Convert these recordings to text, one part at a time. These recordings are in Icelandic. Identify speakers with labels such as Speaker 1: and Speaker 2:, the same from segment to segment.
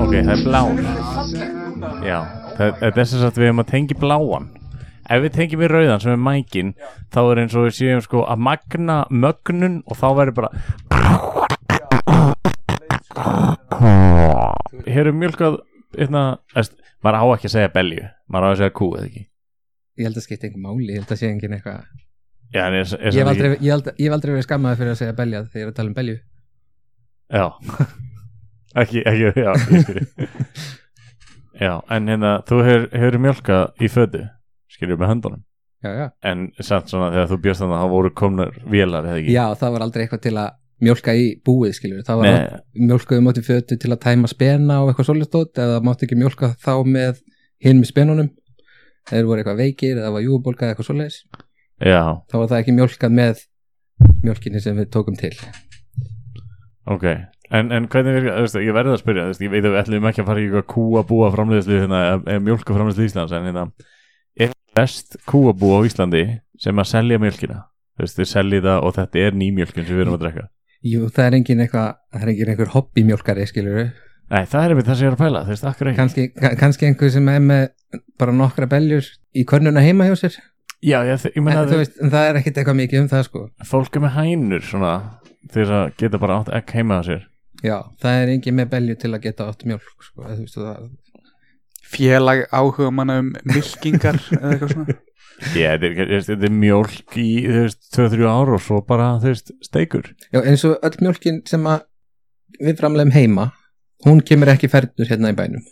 Speaker 1: Ok, það er blár Já, það, þetta er sem sagt við erum að tengi bláan Ef við tengjum í rauðan sem er mækin þá er eins og við séum sko að magna mögnun og þá verður bara Hér er mjölkað hérna, veist, maður á ekki að segja belju maður á að segja kú eða ekki
Speaker 2: Ég held að skipta einhver máli, ég held að sé engin eitthvað
Speaker 1: Já, en er, er
Speaker 2: Ég hef
Speaker 1: samt
Speaker 2: aldrei, ég held, ég hef aldrei verið skammaði fyrir að segja belja þegar ég er að tala um belju
Speaker 1: Já Ekki, ekki, já, ég skilji Já, en hérna þú hefur, hefur mjölkað í fötu skiljum með höndunum
Speaker 2: Já, já
Speaker 1: en samt svona þegar þú bjóst þannig að það voru komnar vélar eða ekki
Speaker 2: Já, það var aldrei eitthvað til að mjólka í búið, skilur Það var
Speaker 1: Nei,
Speaker 2: mjólkaði mátti fötu til að tæma spena og eitthvað svolíðstótt eða mátti ekki mjólka þá með hinn með spenunum þeir voru eitthvað veikir eða var júbólka eða eitthvað svolíðis
Speaker 1: já,
Speaker 2: þá var það ekki mjólkað með mjólkinni sem við tókum til
Speaker 1: ok en, en hvernig virka, þú veist, ég verði að spyrja þú veist, ég veit að við ætlum ekki að fara í eitthvað kúabúa framleiðslu hérna, eða mjölka framleiðslu Íslands en hérna, er best kúabúa á Íslandi sem að selja mjölkina þú veist, þið selja það og þetta er nýmjölkin sem við erum að drekka
Speaker 2: Jú, það er engin eitthvað, það er engin einhver hobby mjólkari, skilur
Speaker 1: Nei, það er einmitt það sem ég er að pæla, þú veist, akkur ekki
Speaker 2: kannski, ka- kannski einhver sem er með bara nokkra beljur í körnuna heima hjá sér
Speaker 1: Já, ég, ég
Speaker 2: en,
Speaker 1: menna
Speaker 2: Eh, þú veist, en það er ekkit eitthvað mikið um það sko
Speaker 1: fólk er með hænur svona, til þess að geta bara átt ekki heima á sér
Speaker 2: Já, það er engin með belju til að geta átt mjólk sko, eða þú veist, það,
Speaker 3: félag áhuga manna um milkingar eða eitthvað svona
Speaker 1: Já, þetta er- þetta er- þetta er mjólk í, þú veist, 2-3 ár og svo bara, þú veist, steikur.
Speaker 2: Já, eins og öll mjólkin sem að við framlegum heima, hún kemur ekki fernur hérna í bænum.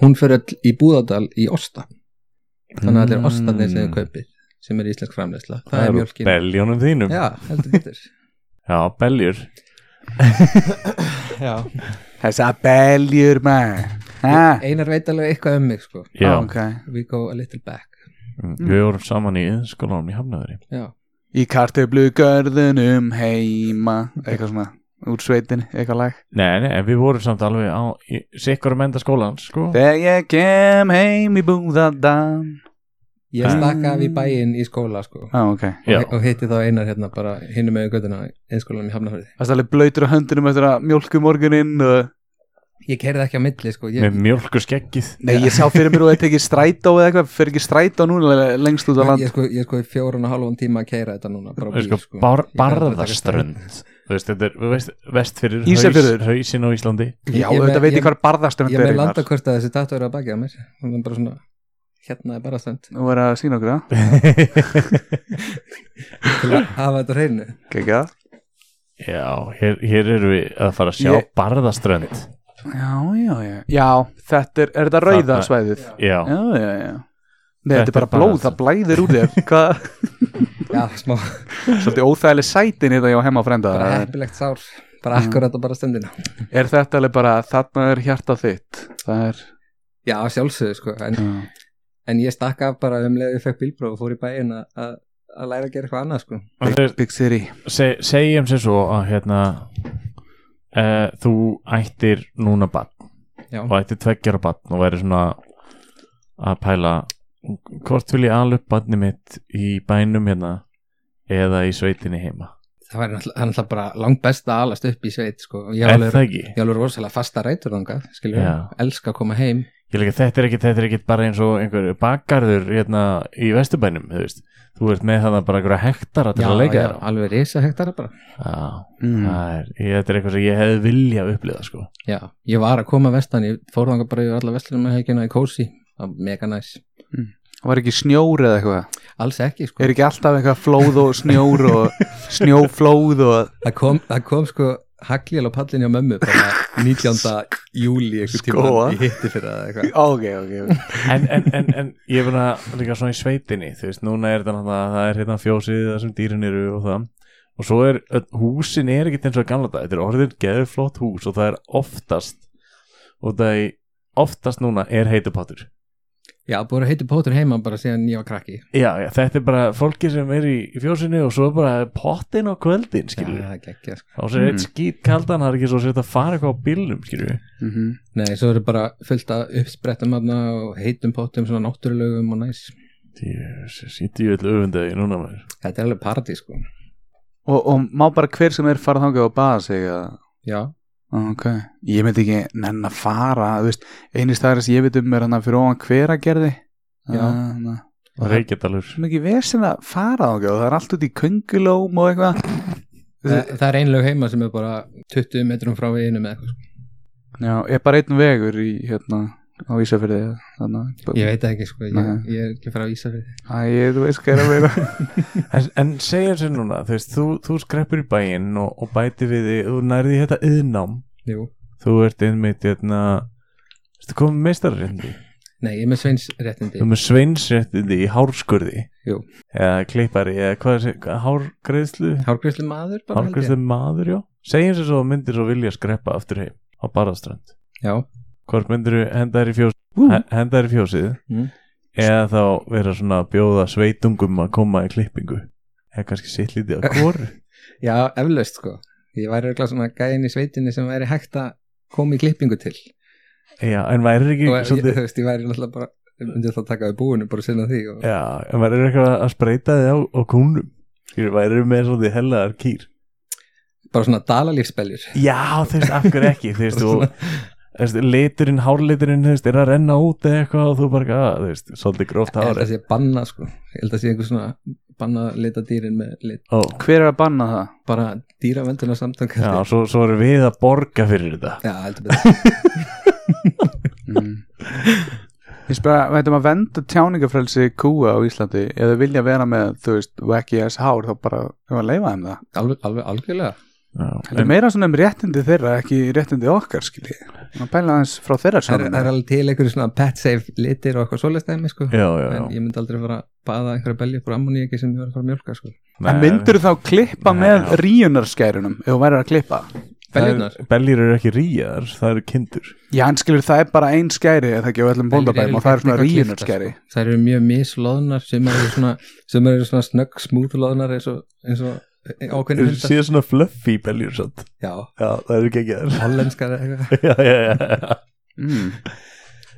Speaker 2: Hún fyrir öll í Búðardal í Osta. Þannig að allir ostanir sem þau kaupir, sem er íslensk framlegsla. Það, er mjólkin.
Speaker 1: Beljónum þínum.
Speaker 2: Já, heldur betur.
Speaker 1: Já, beljur.
Speaker 2: Já.
Speaker 3: þess að beljur með ah,
Speaker 2: Einar veit alveg eitthvað um mig, sko.
Speaker 1: Já,
Speaker 3: ok
Speaker 2: We go a little back.
Speaker 1: mm. við vorum saman í skólanum í Hafnaðari.
Speaker 2: Já.
Speaker 3: í kartöflu görðunum heima eitthvað svona úr sveitin, eitthvað lag
Speaker 1: Nei, nei, en við vorum samt alveg á, í- sikkur um enda skólan, sko.
Speaker 3: þegar ég kem heim í búðadan
Speaker 2: Ég stakka af í bæinn í skóla, sko.
Speaker 3: á ah, ok
Speaker 1: Já,
Speaker 2: Og, og hitti þá Einar hérna bara hinnum með göttuna einskólanum í Hafnarfjörði.
Speaker 3: það er alveg blöytur á höndunum eftir að mjólku morguninn og...
Speaker 2: Ég kerði ekki á milli, sko. Ég,
Speaker 1: með mjólku skeggið.
Speaker 3: nei, ég sá fyrir mér og þetta ekki strætó eða eitthvað, fyrir ekki strætó núna le- lengst út á land
Speaker 2: ég, sko, ég sko í fjórun og halvan tíma að keira þetta núna bara á
Speaker 1: Þú veist,
Speaker 2: bíl,
Speaker 1: sko, bar,
Speaker 2: Ég verð bara að taka strætó.
Speaker 1: barðaströnd. Þú veist, þetta er vest, vestfyrir
Speaker 3: Ísafjörður.
Speaker 1: hausin á Íslandi.
Speaker 3: já,
Speaker 2: Ég- ég-
Speaker 3: þetta veit
Speaker 2: ég-
Speaker 3: ég hvað barðastönd
Speaker 2: ég með
Speaker 3: er Einar.
Speaker 2: landakort að þessi tattu eru að baki á mér þannig bara svona hérna er bara stönd
Speaker 3: nú er að sína okkur það
Speaker 2: til að hafa þetta á hreinu
Speaker 3: ekki það
Speaker 1: Já, hér, hér erum við að fara að sjá
Speaker 3: Ég-
Speaker 1: barðaströnd.
Speaker 3: Já, já, já. Já, þetta er, er þetta rauða
Speaker 1: Þarna-
Speaker 3: svæðið?
Speaker 1: Já,
Speaker 3: Já, já, já. Nei,
Speaker 1: Þetta
Speaker 3: þetta er bara
Speaker 1: er bara
Speaker 3: blóð,
Speaker 1: þetta.
Speaker 3: það blæðir úr þér. Hvað,
Speaker 2: já, smá,
Speaker 3: svolítið óþægileg sætin þetta hjá heima frenda.
Speaker 2: bara heppilegt sár bara akkurat á bara stöndina
Speaker 3: Er þetta alveg bara, þarna er hjarta þitt. Það er,
Speaker 2: já, sjálfsögðu sko en,
Speaker 3: já.
Speaker 2: en ég stakka af bara um leiði fekk bílbróð og fór í bæinn að- að að læra að gera eitthvað annað sko
Speaker 1: og þú veist,
Speaker 3: Big City.
Speaker 1: Se, segjum sér svo að hérna uh, þú ættir núna bann
Speaker 2: já,
Speaker 1: og ættir tveggjara bann og væri svona að pæla hvort vil ég ala upp banni mitt í bænum hérna eða í sveitinni heima
Speaker 2: það var náttúrulega bara langt best að alast upp í sveit sko ég
Speaker 1: er
Speaker 2: alveg,
Speaker 1: það ekki?
Speaker 2: ég alveg rosalega fasta rætur þangað skilur
Speaker 1: Já.
Speaker 2: elska að koma heim
Speaker 1: Ég leika, þetta er ekki, þetta er ekki bara eins og einhver bakgarður hérna í vesturbænum þú veist, þú ert með það bara einhverja hektara til að leika þér á
Speaker 2: alveg risa hektara bara
Speaker 1: Já,
Speaker 3: Mm.
Speaker 1: það er, ég, þetta er eitthvað sem ég hefði vilja upplifa sko
Speaker 2: Já, ég var að koma vestan, ég fór þangað bara yfir alla vestlunum að hekina í kósi, það var mega næs.
Speaker 3: Var ekki snjór eða eitthvað?
Speaker 2: Alls ekki, sko.
Speaker 3: Er ekki alltaf eitthvað flóð og snjór og snjóflóð og...
Speaker 2: Það kom, það kom sko hagljál á pallinni á mömmu bara 19. júli eitthvað tíma
Speaker 3: Skoða.
Speaker 2: ég hitti fyrir það eitthvað.
Speaker 3: Ok, ok, ok.
Speaker 1: en, en, en, en ég er bara líka svona í sveitinni þú veist, núna er þetta náttúrulega það er hérna fjósið það sem dýrin eru og það og svo er, öll- húsin er ekkert eins og í gamla dag þetta er orðin geður flott hús og það er oftast og það er oftast núna er heitupottur
Speaker 2: Já, búið að heita Pótur heima bara síðan ég var krakki
Speaker 1: já, já, þetta er bara fólki sem er í, í fjósinu og svo er bara pottin á kvöldin
Speaker 2: Já,
Speaker 1: skilur við
Speaker 2: það er geggja sko.
Speaker 1: og svo er eitt
Speaker 3: Mm.
Speaker 1: skýt kaldan það er ekki svo sér að fara eitthvað á bílnum skilur við
Speaker 3: Mhm.
Speaker 2: Nei, svo eru bara fullt af uppsprettum aðna og heitum Pótum svona náttúrulegum og næs
Speaker 1: Jesus, sýtti ég öll öfundaði núna maður
Speaker 2: Þetta er alveg paradís sko
Speaker 3: og, og má bara hver sem er fara þangað og baða sig að
Speaker 2: Já,
Speaker 3: Ok, ég myndi ekki nenn að fara, þú veist, eini staðar sem ég veit um er hann fyrir ofan hveragerði Ah,
Speaker 2: Já.
Speaker 3: Þannig að Og það-
Speaker 1: Reykjadalur
Speaker 3: Svo mikið vesen að fara þá og það er allt út í köngulóm og eitthvað
Speaker 2: það, það er einlög heima sem er bara 20 metrum frá veginu með eitthvað sko.
Speaker 3: Já, er bara einn vegur í hérna á Ísafirði þannig að
Speaker 2: Ég veit það ekki sko, ég,
Speaker 3: Nei.
Speaker 2: ég er ekki frá Ísafið
Speaker 3: Æ, ég, þú veist hvað er að vera
Speaker 1: En, en segja sér núna, þú veist, þú, þú skreppur í bæinn og, og bæti við þig, þú nærði þetta yðnám,
Speaker 2: Jú,
Speaker 1: þú ert einmitt, hérna, þú komið meistarréttindi,
Speaker 2: nei, ég er með sveins réttindi
Speaker 1: þú er með sveinsréttindi í hárskurði,
Speaker 2: Jú.
Speaker 1: eða klippari, eða hvað er þessi, hárgreðslu,
Speaker 2: Hárgrislu maður bara held
Speaker 1: hárgreðslu maður, já. Segjum sér svo að þú myndir svo vilja skreppa aftur heim á barðaströnd.
Speaker 2: ég Já,
Speaker 1: Hvort myndir þú henda þér í fjós,
Speaker 3: Ú.
Speaker 1: he- henda þér í fjósið,
Speaker 2: Mm.
Speaker 1: eða þá vera svona að bjóða sveitungum að koma í klippingu, eða kannski sitt lítið að kóru.
Speaker 2: já, eflaust sko Ég væri eitthvað svona gæðin í sveitinni sem væri hægt að koma í klippingu til
Speaker 1: Já, en væri ekki
Speaker 2: og ég,
Speaker 1: svolítið
Speaker 2: þú veist, ég væri náttúrulega bara ég myndi þá taka við búinu bara sinna því og,
Speaker 1: Já, en væri eitthvað að spreita þig á, á kúnum Skilur, væri með svolítið hellaðar kýr
Speaker 2: bara svona dalalífspeljur
Speaker 1: Já, þú veist, af hverju ekki Þú veist, þú- þú veist, liturinn, hárliturinn, þú veist, er að renna út eða eitthvað og þú bara, að, þú veist, svolítið gróft
Speaker 2: ég held
Speaker 1: hári
Speaker 2: að sé banna sko ég held að sé einhver svona banna að lita dýrin með lit,
Speaker 1: Ó,
Speaker 3: Hver er að banna það?
Speaker 2: bara dýravenduna samtang
Speaker 1: já, svo, svo erum við að borga fyrir þetta
Speaker 2: já, heldur betur
Speaker 3: Mm. Ég spyr að, veitum að venda tjáningafrelsi kúa á Íslandi eða vilja vera með, þú veist, wacky ass hár þá bara, ef að leifa þeim það
Speaker 2: alveg, alveg algjörlega
Speaker 1: já,
Speaker 3: Þetta er
Speaker 1: en,
Speaker 3: meira svona um réttindi þeirra, ekki réttindi okkar, skilji. Man pæla aðeins frá þeirra
Speaker 2: það er,
Speaker 3: sjónum.
Speaker 2: það er alveg til einhverju svona pet safe litir og eitthvað svoleiðst dæmi sko
Speaker 1: já, já,
Speaker 2: en
Speaker 1: já.
Speaker 2: ég myndi aldrei fara að baða einhverja belja upp úr ammoníaki sem ég var að fara að mjölka sko
Speaker 3: En myndur þá klippa
Speaker 1: Nei,
Speaker 3: með
Speaker 1: já.
Speaker 3: ríjunarskærunum ef þú værir að klippa?
Speaker 2: beljunar,
Speaker 1: Beljur eru ekki ríjar, það eru kindur
Speaker 3: Já, en skilur það er bara einn skæri eða ekki á öllum bóndabærum og það er svona ríjunarskæri.
Speaker 2: sko. það eru mjög mislóðnar sem eru svona, sem eru svona snögg smúðlóðnar eins og, eins og ákveðnir
Speaker 1: Þú
Speaker 2: hundar.
Speaker 1: séð svona fluffy beljur satt
Speaker 2: já,
Speaker 1: Já, það eru ekki ekki þar
Speaker 2: hollenskar eitthvað
Speaker 1: Já, já, já, já
Speaker 3: Mm.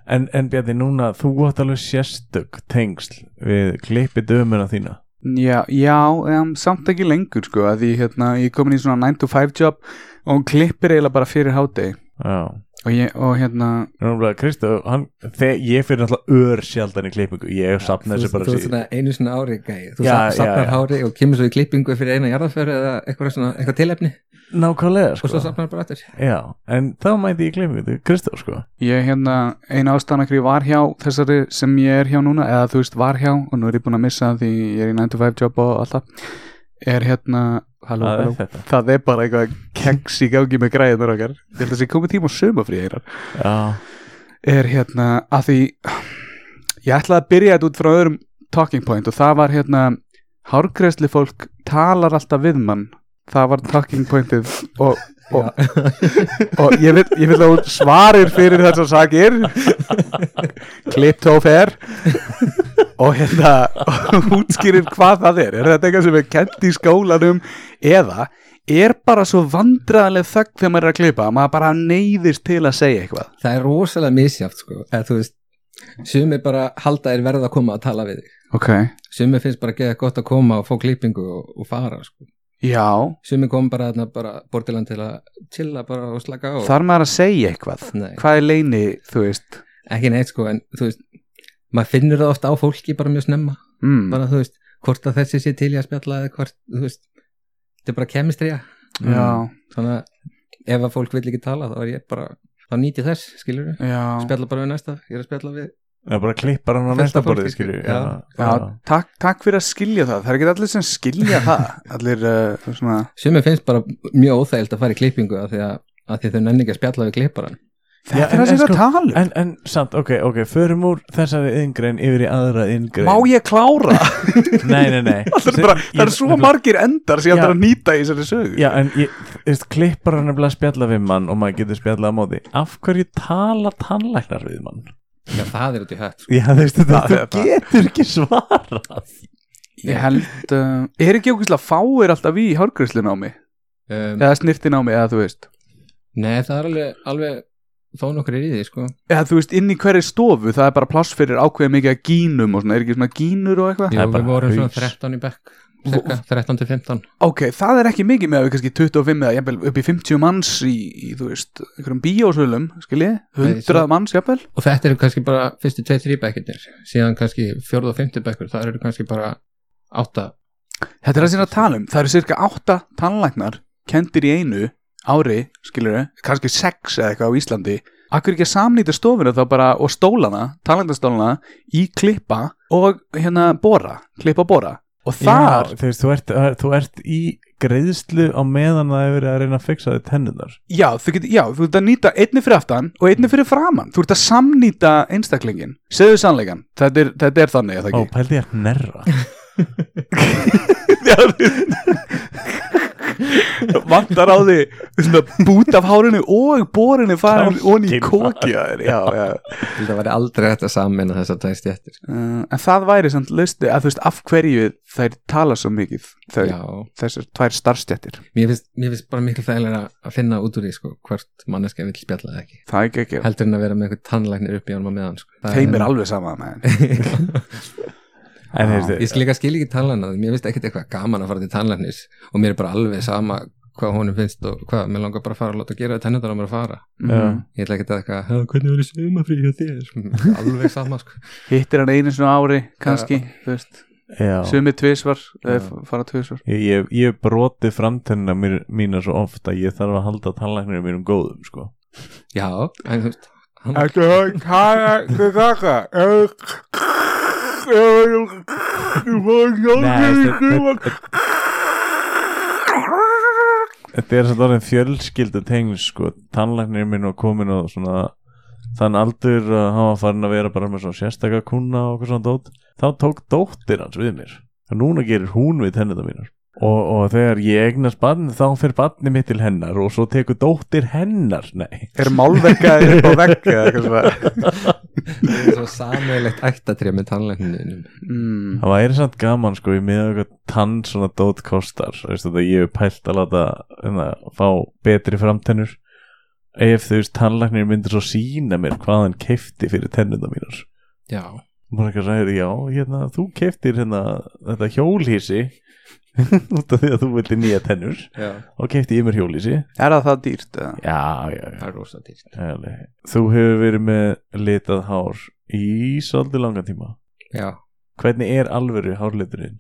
Speaker 1: En, en Bjarni, núna, þú átt alveg sérstök tengsl við klippi dömuna þína.
Speaker 3: Já, já, um, samt ekki lengur sko, að því hérna, ég er komin í svona 9 to 5 job og hún klippir eiginlega bara fyrir hádegi.
Speaker 1: Já.
Speaker 3: Og, ég, og hérna,
Speaker 1: Núna, Kristof, hann, þegar ég fyrir náttúrulega ör sjaldan í klippingu, ég sapna þessu
Speaker 2: þú,
Speaker 1: bara
Speaker 2: þú
Speaker 1: síðan.
Speaker 2: svona einu svona ári gæi. þú
Speaker 1: Já,
Speaker 2: sap-
Speaker 1: já,
Speaker 2: sapnar
Speaker 1: já.
Speaker 2: hári og kemur svo í klippingu fyrir eina jarðaföru eða eitthvað, svona, eitthvað tilefni
Speaker 1: Nákvæmlega,
Speaker 2: og
Speaker 1: sko.
Speaker 2: svo sapnar bara eftir
Speaker 1: Já, en þá mæti ég klippingu, þú, Kristof, sko.
Speaker 3: ég hérna, eina ástæðan að hverju ég var hjá þessari sem ég er hjá núna, eða þú veist var hjá og nú er ég búin að missa því ég er í 9 to 5 job og alltaf, er hérna, halló,
Speaker 1: Það
Speaker 3: halló.
Speaker 1: er þetta.
Speaker 3: Það er bara eitthvað keks í gangi með græðunar okkar. Ég held að þessi komið tíma á sömafríðir
Speaker 1: Já,
Speaker 3: er hérna að því ég ætlaði að byrja þetta út frá öðrum talking point og það var hérna hárgreðsli fólk talar alltaf við mann. Það var talking pointið og, og, og ég vil, ég vil að hún svarir fyrir þess að sakir kliptófer og hérna og útskýrir hvað það er er þetta eitthvað sem er kent í skólanum eða er bara svo vandræðaleg þögg þegar maður er að klippa að maður bara neyðist til að segja eitthvað
Speaker 2: það er rosalega misjátt sko eða þú veist sumir bara halda þér verða að koma að tala við þig
Speaker 3: ok,
Speaker 2: sumir finnst bara að geða gott að koma og fá klippingu og, og fara sko
Speaker 3: já
Speaker 2: sumir kom bara þarna bara bortiland til að chilla bara og slaka á
Speaker 3: þarf maður að segja eitthvað
Speaker 2: Nei,
Speaker 3: hvað er leini, þú veist
Speaker 2: ekki neitt sko en þú veist maður finnur það ofta á fólki bara mjög snemma
Speaker 3: mm.
Speaker 2: bara þú veist hvort að þessi sé til í að spjalla eða hvort þú veist þetta er bara kemistriða
Speaker 1: Mm.
Speaker 3: já,
Speaker 1: hmm.
Speaker 2: þannig að ef að fólk vil ekki tala þá er ég bara þá nýti þess skilur við
Speaker 3: já,
Speaker 2: spjalla bara við næsta ég er að spjalla við
Speaker 1: það er bara klippar hann á
Speaker 2: Fullt
Speaker 1: næsta
Speaker 2: af fólki,
Speaker 1: borðið, skilju.
Speaker 2: já.
Speaker 3: já takk, takk fyrir að skilja það það er ekki allir sem skilja það allir uh, svona
Speaker 2: sumir finnst bara mjög óþægild að fara í klippingu af því að, að því að þau nenni ekki að spjalla við klipparan
Speaker 1: Já,
Speaker 3: þetta
Speaker 1: en-
Speaker 3: er það sem
Speaker 1: en
Speaker 3: það
Speaker 1: sko-
Speaker 3: tala um.
Speaker 1: En, en samt, ok, ok, förum úr þessari yngrein yfir í aðra yngrein.
Speaker 3: má ég klára
Speaker 1: Nei, nei, nei.
Speaker 3: Það er, bara, það er svo margir endar sem ég ætla
Speaker 1: Já.
Speaker 3: að nýta í þessari sögu
Speaker 1: Já, en ég, þú veist, klippar hann nefnilega að spjalla við mann og maður getur spjallað á móti. Af hverju tala tannlæknar við mann?
Speaker 2: Já, það er út í hött sko.
Speaker 1: Já, þú veist,
Speaker 3: Það
Speaker 1: þú
Speaker 3: er það.
Speaker 1: getur ekki svarað
Speaker 3: Ég held, uh, er ekki ógæslega fáir alltaf í hárgræslin á mig
Speaker 2: um,
Speaker 3: eða snirtin á mig, eða þú veist
Speaker 2: Nei, það er alveg, alveg þó nokkur er í því, sko
Speaker 3: eða þú veist, inn í hverri stofu það er bara pláss fyrir ákveðið mikið að gínum og svona, er ekki svona gínur og eitthvað
Speaker 2: Jú,
Speaker 1: Það er bara
Speaker 2: við vorum svona
Speaker 1: haus.
Speaker 2: 13 í bekk cirka, 13 til 15
Speaker 3: ok, það er ekki mikið með að við kannski 25 eða jafnvel upp í 50 manns í, í þú veist, einhverjum bíósölum skiljið, 100
Speaker 2: svo-
Speaker 3: manns jafnvel
Speaker 2: og þetta eru kannski bara fyrstu 2-3 bekkirnir síðan kannski 4 og 5 bekkur það eru kannski bara 8
Speaker 3: Þetta er það sem ég er að tala um, það eru cirka 8 tannlæknar kendir í einu ári, skilur við, kannski 6 eða eitthvað á Íslandi. Akkur ekki að samnýta stofuna þá bara og stólana, tannlæknastólana í klippa og hérna bóra, klippa og bóra. Og þar,
Speaker 1: Já, þú veist, þú ert, eh, þú ert í greiðslu á meðan það hefur verið að reyna að fixa þið tennunar
Speaker 3: já, þú getur, já, þú ert að nýta einni fyrir aftan og einni fyrir framan. Þú ert að samnýta einstaklingin. Segðu sannleikan, þetta er, þetta er þannig, eða
Speaker 1: Ó,
Speaker 3: ekki?
Speaker 1: pældi ég að nerra
Speaker 3: Vantar á því svona, bút af hárinu og bórinu farin og í
Speaker 1: Kálkinn.
Speaker 3: kókjaður. Já, já.
Speaker 2: það væri aldrei hægt að sammeina þess að það er stjættir
Speaker 3: Uh, en það væri samt lusti að þú veist af hverju þær tala svo mikið þau,
Speaker 2: Já,
Speaker 3: þessar tvær starfstjættir
Speaker 2: mér finnst, mér finnst bara miklu þægilega að finna út úr því sko, hvort manneska vill spjalla eða ekki
Speaker 3: það er ekki ekki,
Speaker 2: heldur en að vera með einhver tannlæknir upp í honum á meðan sko. Það
Speaker 3: þeim er alveg sama með
Speaker 2: alveg
Speaker 1: En þú
Speaker 3: Já.
Speaker 1: veist,
Speaker 2: Ég skil ekki að skil ekki tannlækna mér finnst ekkit eitthvað gaman að fara til tannlæknis og mér er bara alveg sama hvað honum finnst og hvað, mér langar bara að fara að láta gera tennundar á mér að fara
Speaker 3: Mhm.
Speaker 1: Já.
Speaker 3: mm.
Speaker 2: ég ætla ekki að eitthvað, "Ha, hvernig verður sumafrí hjá þér alveg sama sko
Speaker 3: hittir hann einu svona ári kannski, þú veist,
Speaker 1: já
Speaker 3: sumi tvisvar eða
Speaker 2: Já.
Speaker 3: f- fara tvisvar
Speaker 1: Ég, ég, ég broti framtennina mér, mína svo oft að ég þarf að halda tannlæknirinn mínum góðum sko.
Speaker 2: já, en þú veist hann,
Speaker 3: Ertu hann kæra til þakka
Speaker 1: Nei, þetta- Þetta er samt orðin fjölskyldu tengd sko. tannlæknirinn minn var komin og svona þann aldur að hann var farin að vera bara með svona sérstaka kuna og okkur svona dót þá tók dóttir hans við mér og núna gerir hún við tennina mínar og, og þegar ég eignast barn þá fer barni mitt til hennar og svo tekur dóttir hennar nei,
Speaker 3: er málvekkaðir upp á vekk eða eitthvað svona
Speaker 2: það er svo sameigilegt ættatrið með tannlækninum
Speaker 3: Mm.
Speaker 1: það væri samt gaman sko í miða eitthvað tann svona dót kostar veistu þetta ég hef pælt að láta hérna, fá betri framtennur ef þú veist tannlæknir myndir svo sína mér hvað hann keifti fyrir tennina mínar
Speaker 2: já,
Speaker 1: bara eitthvað ræður, já, hérna, þú keftir hérna, þetta hjólhísi út af því að þú vildi nýja tennur
Speaker 2: já,
Speaker 1: og kefti ég mér hjólhísi
Speaker 3: er það það dýrt eða?
Speaker 1: já, já, já
Speaker 2: það er rosa dýrt
Speaker 1: Herli. þú hefur verið með litað hár í svolítið langan tíma
Speaker 2: já,
Speaker 1: hvernig er alvöru hárliturinn?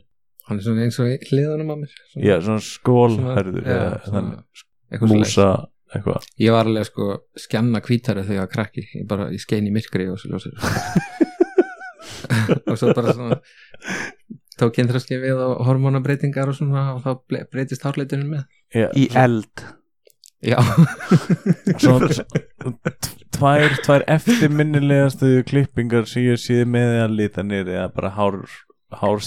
Speaker 2: hann er svona eins og í hliðanum á mér svona,
Speaker 1: já, svona skólhörður
Speaker 2: já,
Speaker 1: eða
Speaker 2: svona,
Speaker 1: þannig,
Speaker 2: eitthvað svoleiðis.
Speaker 1: músa eitthvað,
Speaker 2: ég var alveg sko skjanna kvítari þegar ég var krakki ég bara, ég skein í myrkri og svo ljósir og svo bara svona tók kynþraskið við og hormonabreitingar og svona og þá ble- breytist hárleitunum með
Speaker 1: já,
Speaker 3: í eld
Speaker 2: já,
Speaker 1: svona t- tvær, tvær eftirminnilegastu klippingar sem ég séð með að lita nýri eða bara hár, hár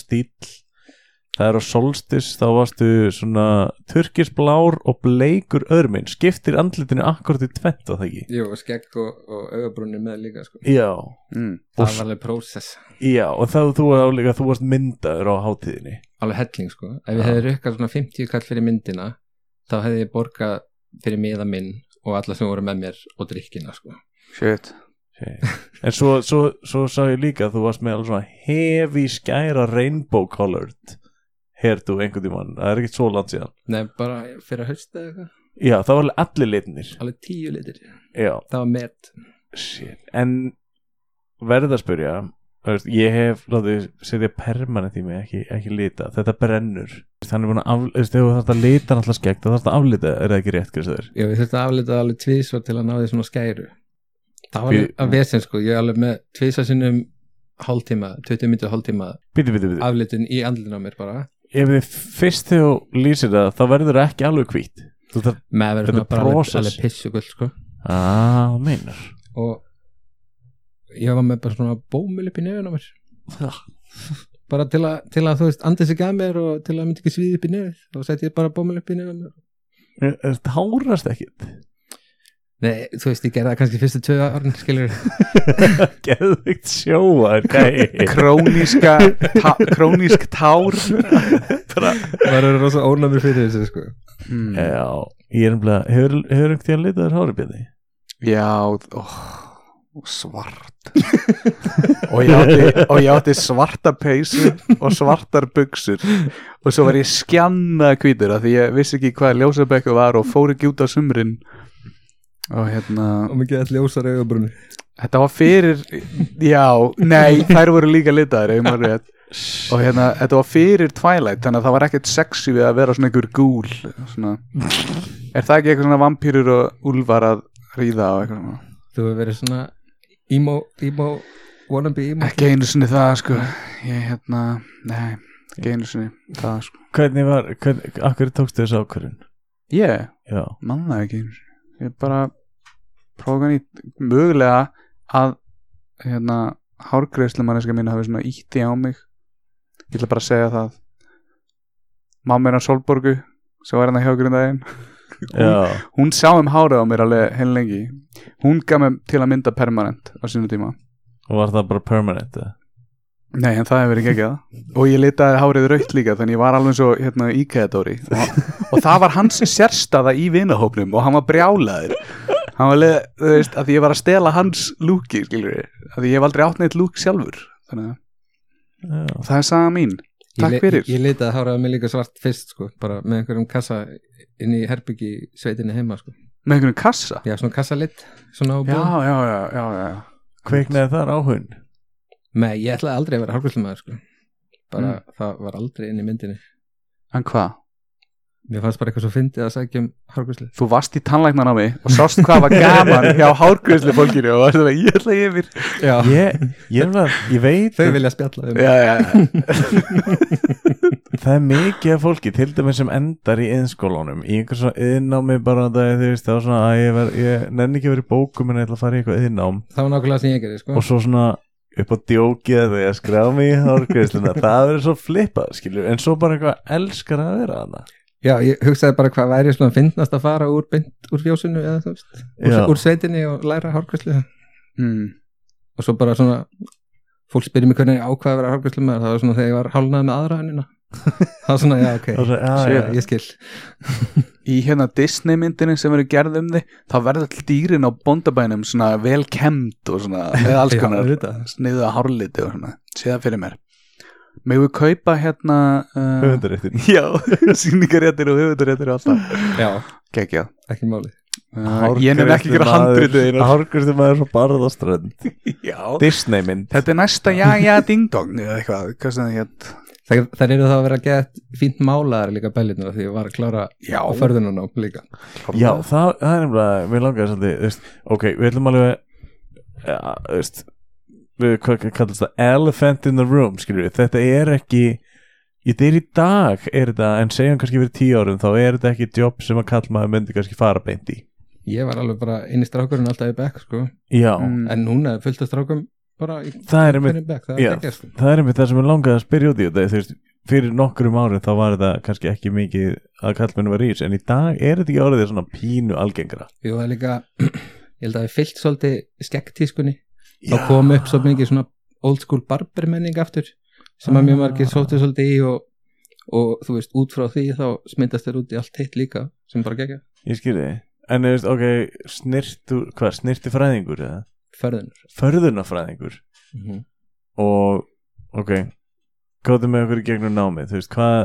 Speaker 1: það er á solstis þá varstu svona turkisblár og bleikur örminn skiptir andlitinu akkurat í tvent á það ekki
Speaker 2: jú, og skegg og, og augabrunni með líka sko
Speaker 1: já,
Speaker 3: mm.
Speaker 2: það var alveg prósess,
Speaker 1: já og þá þú var líka þú varst myndaður á hátíðinni
Speaker 2: alveg helling sko ef
Speaker 1: Já.
Speaker 2: ég hefði rukkað svona 50 kall fyrir myndina þá hefði ég borgað fyrir miða minn og alla sem voru með mér og drikkina sko
Speaker 3: shit
Speaker 1: en svo, svo, svo sá ég líka að þú varst með alveg svona heavy skæra rainbow colored herdu einhvern tímann, það er ekkert svo langt síðan
Speaker 2: Nei, bara fyrir að hausta eitthvað,
Speaker 1: já, það var alveg allir litnir
Speaker 2: alveg tíu litir
Speaker 1: já,
Speaker 2: það var met
Speaker 1: Shit. En verð að spyrja þú veist, Ég hef látið setja permanent í mig ekki, ekki lita, þetta brennur Þannig búin að af, þú veist, ef þú þarfst að lita alltaf skegg, þá þarfst að aflita er það ekki rétt Kristofur?
Speaker 2: Já, við þurftum að aflita það alveg tvísvar til að ná því svona skæru. Það var
Speaker 1: Við-
Speaker 2: alveg að vesen sko, ég er alveg með tvísvar sinnum hálftíma, 20 minntu hálftíma
Speaker 1: Bíti, bíti, bíti,
Speaker 2: aflitin í andlinu á mér bara.
Speaker 1: ef þið fyrst þegar þú lýsir það þá verður það ekki alveg hvít Þú þarf
Speaker 2: Með að vera
Speaker 1: Þetta
Speaker 2: svona
Speaker 1: er
Speaker 2: bara alveg,
Speaker 1: process.
Speaker 2: alveg pissugull sko.
Speaker 1: að meinar
Speaker 2: Og ég var með bara svona bómul upp í nefun á mér. Bara til að, til að þú veist, andið sig að mér og til að myndi ekki svíði upp í nefun. Þá sett ég bara bómul upp í nefun á mér.
Speaker 1: Það hárast ekkit
Speaker 2: Nei, þú veist, ég gerði það kannski fyrstu tvö árin, skilur
Speaker 1: Geðvikt sjóar gæi.
Speaker 3: Króníska ta, Krónísk tár
Speaker 2: Var það rosa ónæmur fyrir þessu, sko
Speaker 3: mm.
Speaker 1: Já, ég er umlega Hefur einhvern tíðan litið þér háribindi?
Speaker 3: Já ó, Svart og, ég átti, og ég átti svarta peysu Og svartar buksur Og svo var ég skjanna hvítur af Því ég vissi ekki hvað ljósabekku var Og fór ekki út á sumrin Og hérna
Speaker 2: Og mikið all ljósar augabrunni
Speaker 3: Þetta var fyrir, já, nei, þær voru líka litaðar, ef ég maður rétt. Og hérna, þetta var fyrir Twilight, þannig að það var ekkert sexy við að vera svona einhver gúl. Svona. Er það ekki eitthvað svona vampýrur og úlfar að ríða á eitthvað svona?
Speaker 2: Þú hefur verið svona emo, emo, wannabe emo
Speaker 3: Ekki einu sinni það, sko. Ég, hérna, nei, ekki einu sinni það, sko.
Speaker 1: Hvernig var, hvernig, akkur tókstu þessu ákvörðun?
Speaker 3: Ég,
Speaker 1: Já,
Speaker 3: mann það ekki einu sinni. Ég bara prófa nýtt, mögulega að, hérna, hárgreislumanniska mín hafi svona ítti á mig. Ég ætla bara að segja það. Mamma er á Solborgu, sem var hérna hjá okkur um daginn.
Speaker 1: já,
Speaker 3: Hún sá um hárið á mér alveg heil lengi. Hún gaf mér til að mynda permanent á sínu tíma.
Speaker 1: og var það bara permanent eða?
Speaker 3: Nei, en það hefur verið ekki það. Og ég litaði hárið raukt líka, þannig ég var alveg svo hérna íkæðadóri. Og, og það var hans sérstaða í vinahópnum og hann var brjálaður. Hann var leið, þú veist, að því ég var að stela hans lúki, skilur við. Að því ég hef aldrei átt neitt lúk sjálfur. Þannig að
Speaker 1: Já,
Speaker 3: það er saga mín. Takk
Speaker 2: Ég le-
Speaker 3: fyrir.
Speaker 2: Ég, ég leitaði háraði mig líka svart fyrst, sko Bara með einhverjum kassa inn í herbyggi sveitinni heima, sko
Speaker 3: Með einhvern kassa.
Speaker 2: Já, svona kassalitt, svona á
Speaker 3: Já,
Speaker 2: bóð
Speaker 3: já, já, já, já.
Speaker 1: kveiknaði þar áhugn
Speaker 2: Nei, ég ætlaði aldrei að vera hárgjöldumæður, sko Bara, það var aldrei inn í myndinni
Speaker 3: En hvað?
Speaker 2: Mér fannst bara eitthvað svo fyndið að sækja um hárgjöldli
Speaker 3: Þú varst í tannlæknan á mig og sást hvað var gaman hjá hárgreisli fólkinu og varst það ég ætla yfir.
Speaker 2: Já,
Speaker 1: Ég, ég, er alveg- ég veit
Speaker 2: Ah. þau
Speaker 1: að
Speaker 2: vilja spjalla um
Speaker 3: Já, já, já.
Speaker 1: það er mikið af fólki til dæmis sem endar í yðinskólanum í einhver svona yðnámi bara það er þú veist það var svona að ég, ver, ég nenni ekki að vera í bókum en ég ætla að fara í eitthvað yðnám
Speaker 2: Það var nákvæmlega sem ég gerði, sko
Speaker 1: og svo svona upp á djókið þegar ég skrá mig í hárgreisluna það verður svo flippað skilju en svo bara eitthvað elskar að vera hana
Speaker 2: Já, ég hugsaði bara hvað væri svona fyndnast að fara úr, beint, úr fjósinu eða þú veist úr,
Speaker 1: Já.
Speaker 2: úr sveitinni og læra hárgjöldli
Speaker 3: Mm.
Speaker 2: og svo bara svona fólk spyrir mig hvernig ég ákvaði að vera hárgjöldli maður það var svona þegar ég var hálnað með aðra hennina það var svona, já, ok,
Speaker 1: og svo, já,
Speaker 2: já,
Speaker 1: já,
Speaker 2: ég skil
Speaker 3: Í hérna Disney myndinni sem eru gerð um þig þá verður all dýrin á bóndabænum svona vel kemd og svona eða alls
Speaker 2: Já,
Speaker 3: konar
Speaker 2: auðvitað.
Speaker 3: sniðu að hárliti og svona séða fyrir mér. Megum við kaupa hérna uh,
Speaker 1: höfundaréttin
Speaker 3: Já, sýningaréttir og höfundaréttir og alltaf.
Speaker 2: Já,
Speaker 3: Gekkja.
Speaker 2: ekki máli
Speaker 3: Uh, ég nefn ekki gera handritu einu.
Speaker 1: hárgreislum aður svo barðaströnd
Speaker 3: Já.
Speaker 1: Disney mynd
Speaker 3: Þetta er næsta já, já, ding dong eða eitthvað, hvað sem það hétt
Speaker 2: Það, það eru þá að vera að geta fínt málaðar líka bellinar því ég var að klára
Speaker 3: Já,
Speaker 2: á förðunum líka
Speaker 1: Já, það, það er nefnilega, við langaði svolítið, þú veist, ok, við ætlum alveg, ja, þú veist, við, hvað hvað kallast það, elephant in the room, skilur við, þetta er ekki, ég þetta er í dag, er þetta, en segjum kannski fyrir tíu árum, þá er þetta ekki jobb sem að kallmaður myndi kannski fara beint í.
Speaker 2: Ég var alveg bara inn í strákurinn alltaf í bekk, sko
Speaker 1: Já,
Speaker 3: Mm.
Speaker 2: en núna er fullt af strákum bara í
Speaker 1: það er einmitt,
Speaker 2: hverjum bekk, það er
Speaker 1: Já.
Speaker 2: ekki sko.
Speaker 1: það er einmitt það sem við langaði að spyrja út í þetta, þú veist, fyrir nokkrum árum þá var þetta kannski ekki mikið að kallmennu var í þessu, en í dag er þetta ekki orðið svona pínu algengra.
Speaker 2: Jú, það er líka, ég held að við fyllt svolítið skekktískunni þá kom upp svo mikið svona old school barber menning aftur sem að mjög margir sóttu svolítið í og, og þú veist, út frá því þá smyndast þér út í allt hitt líka sem bara gegja
Speaker 1: Ég skilði, en þú veist, ok, snirtu, hvað, snirti fræðingur eða?
Speaker 2: ferðinur
Speaker 1: förðunafræðingur
Speaker 2: mm -hmm.
Speaker 1: og ok gáttum með okkur í gegnum námið þú veist hvað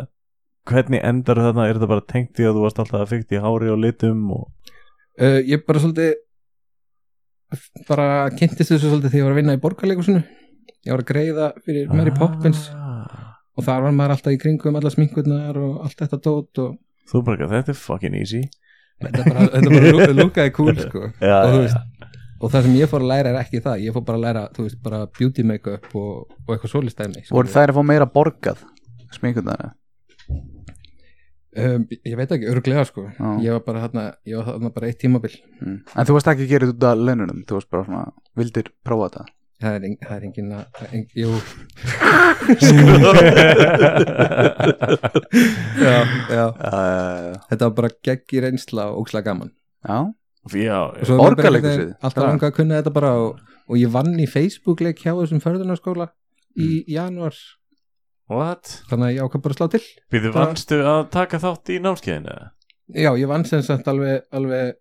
Speaker 1: hvernig endar þarna er þetta bara tengt í að þú varst alltaf að fykta í hári og litum og
Speaker 2: uh, ég bara svolítið bara kynntist þessu svolítið þegar ég var að vinna í borgarleikusinu ég var að greiða fyrir Mary Poppins
Speaker 1: Ah,
Speaker 2: og þar var maður alltaf í kringum alla sminkurnar og allt þetta dót og
Speaker 1: þú bara ekki þetta er fucking easy
Speaker 2: þetta bara, þetta bara lú- lúkaði cool sko
Speaker 1: já,
Speaker 2: og, þú
Speaker 1: já,
Speaker 2: veist, og það sem ég fór að læra er ekki það ég fór bara að læra, þú veist, bara beauty make-up og, og eitthvað sko. svolistæmi
Speaker 3: Voru þær að fá meira borgað sminkundana?
Speaker 2: um, ég veit ekki, örglega sko
Speaker 3: Já.
Speaker 2: ég var bara þarna, ég var þarna bara eitt tímabil
Speaker 3: Mm. En þú varst ekki að gera þetta út af laununum Þú varst bara svona, vildir prófa þetta
Speaker 2: það er, en, það er engin að það er engin, jú, já, já.
Speaker 3: uh,
Speaker 2: þetta var bara geggi reynsla og ókslega gaman
Speaker 3: Já,
Speaker 1: já,
Speaker 2: Og svo er maður bara
Speaker 3: Orgaleikhúsið?
Speaker 2: einhvern veginn Alltaf
Speaker 3: Já.
Speaker 2: langa að kunna þetta bara og, og ég vann í Facebook-leik hjá þessum förðunarskóla í janúar
Speaker 1: what?
Speaker 2: þannig að ég ákvað bara að slá til
Speaker 1: Býðu
Speaker 2: Það-
Speaker 1: vannstu að taka þátt í námskeiðinu? eða?
Speaker 2: Já, ég vann sem sagt alveg, alveg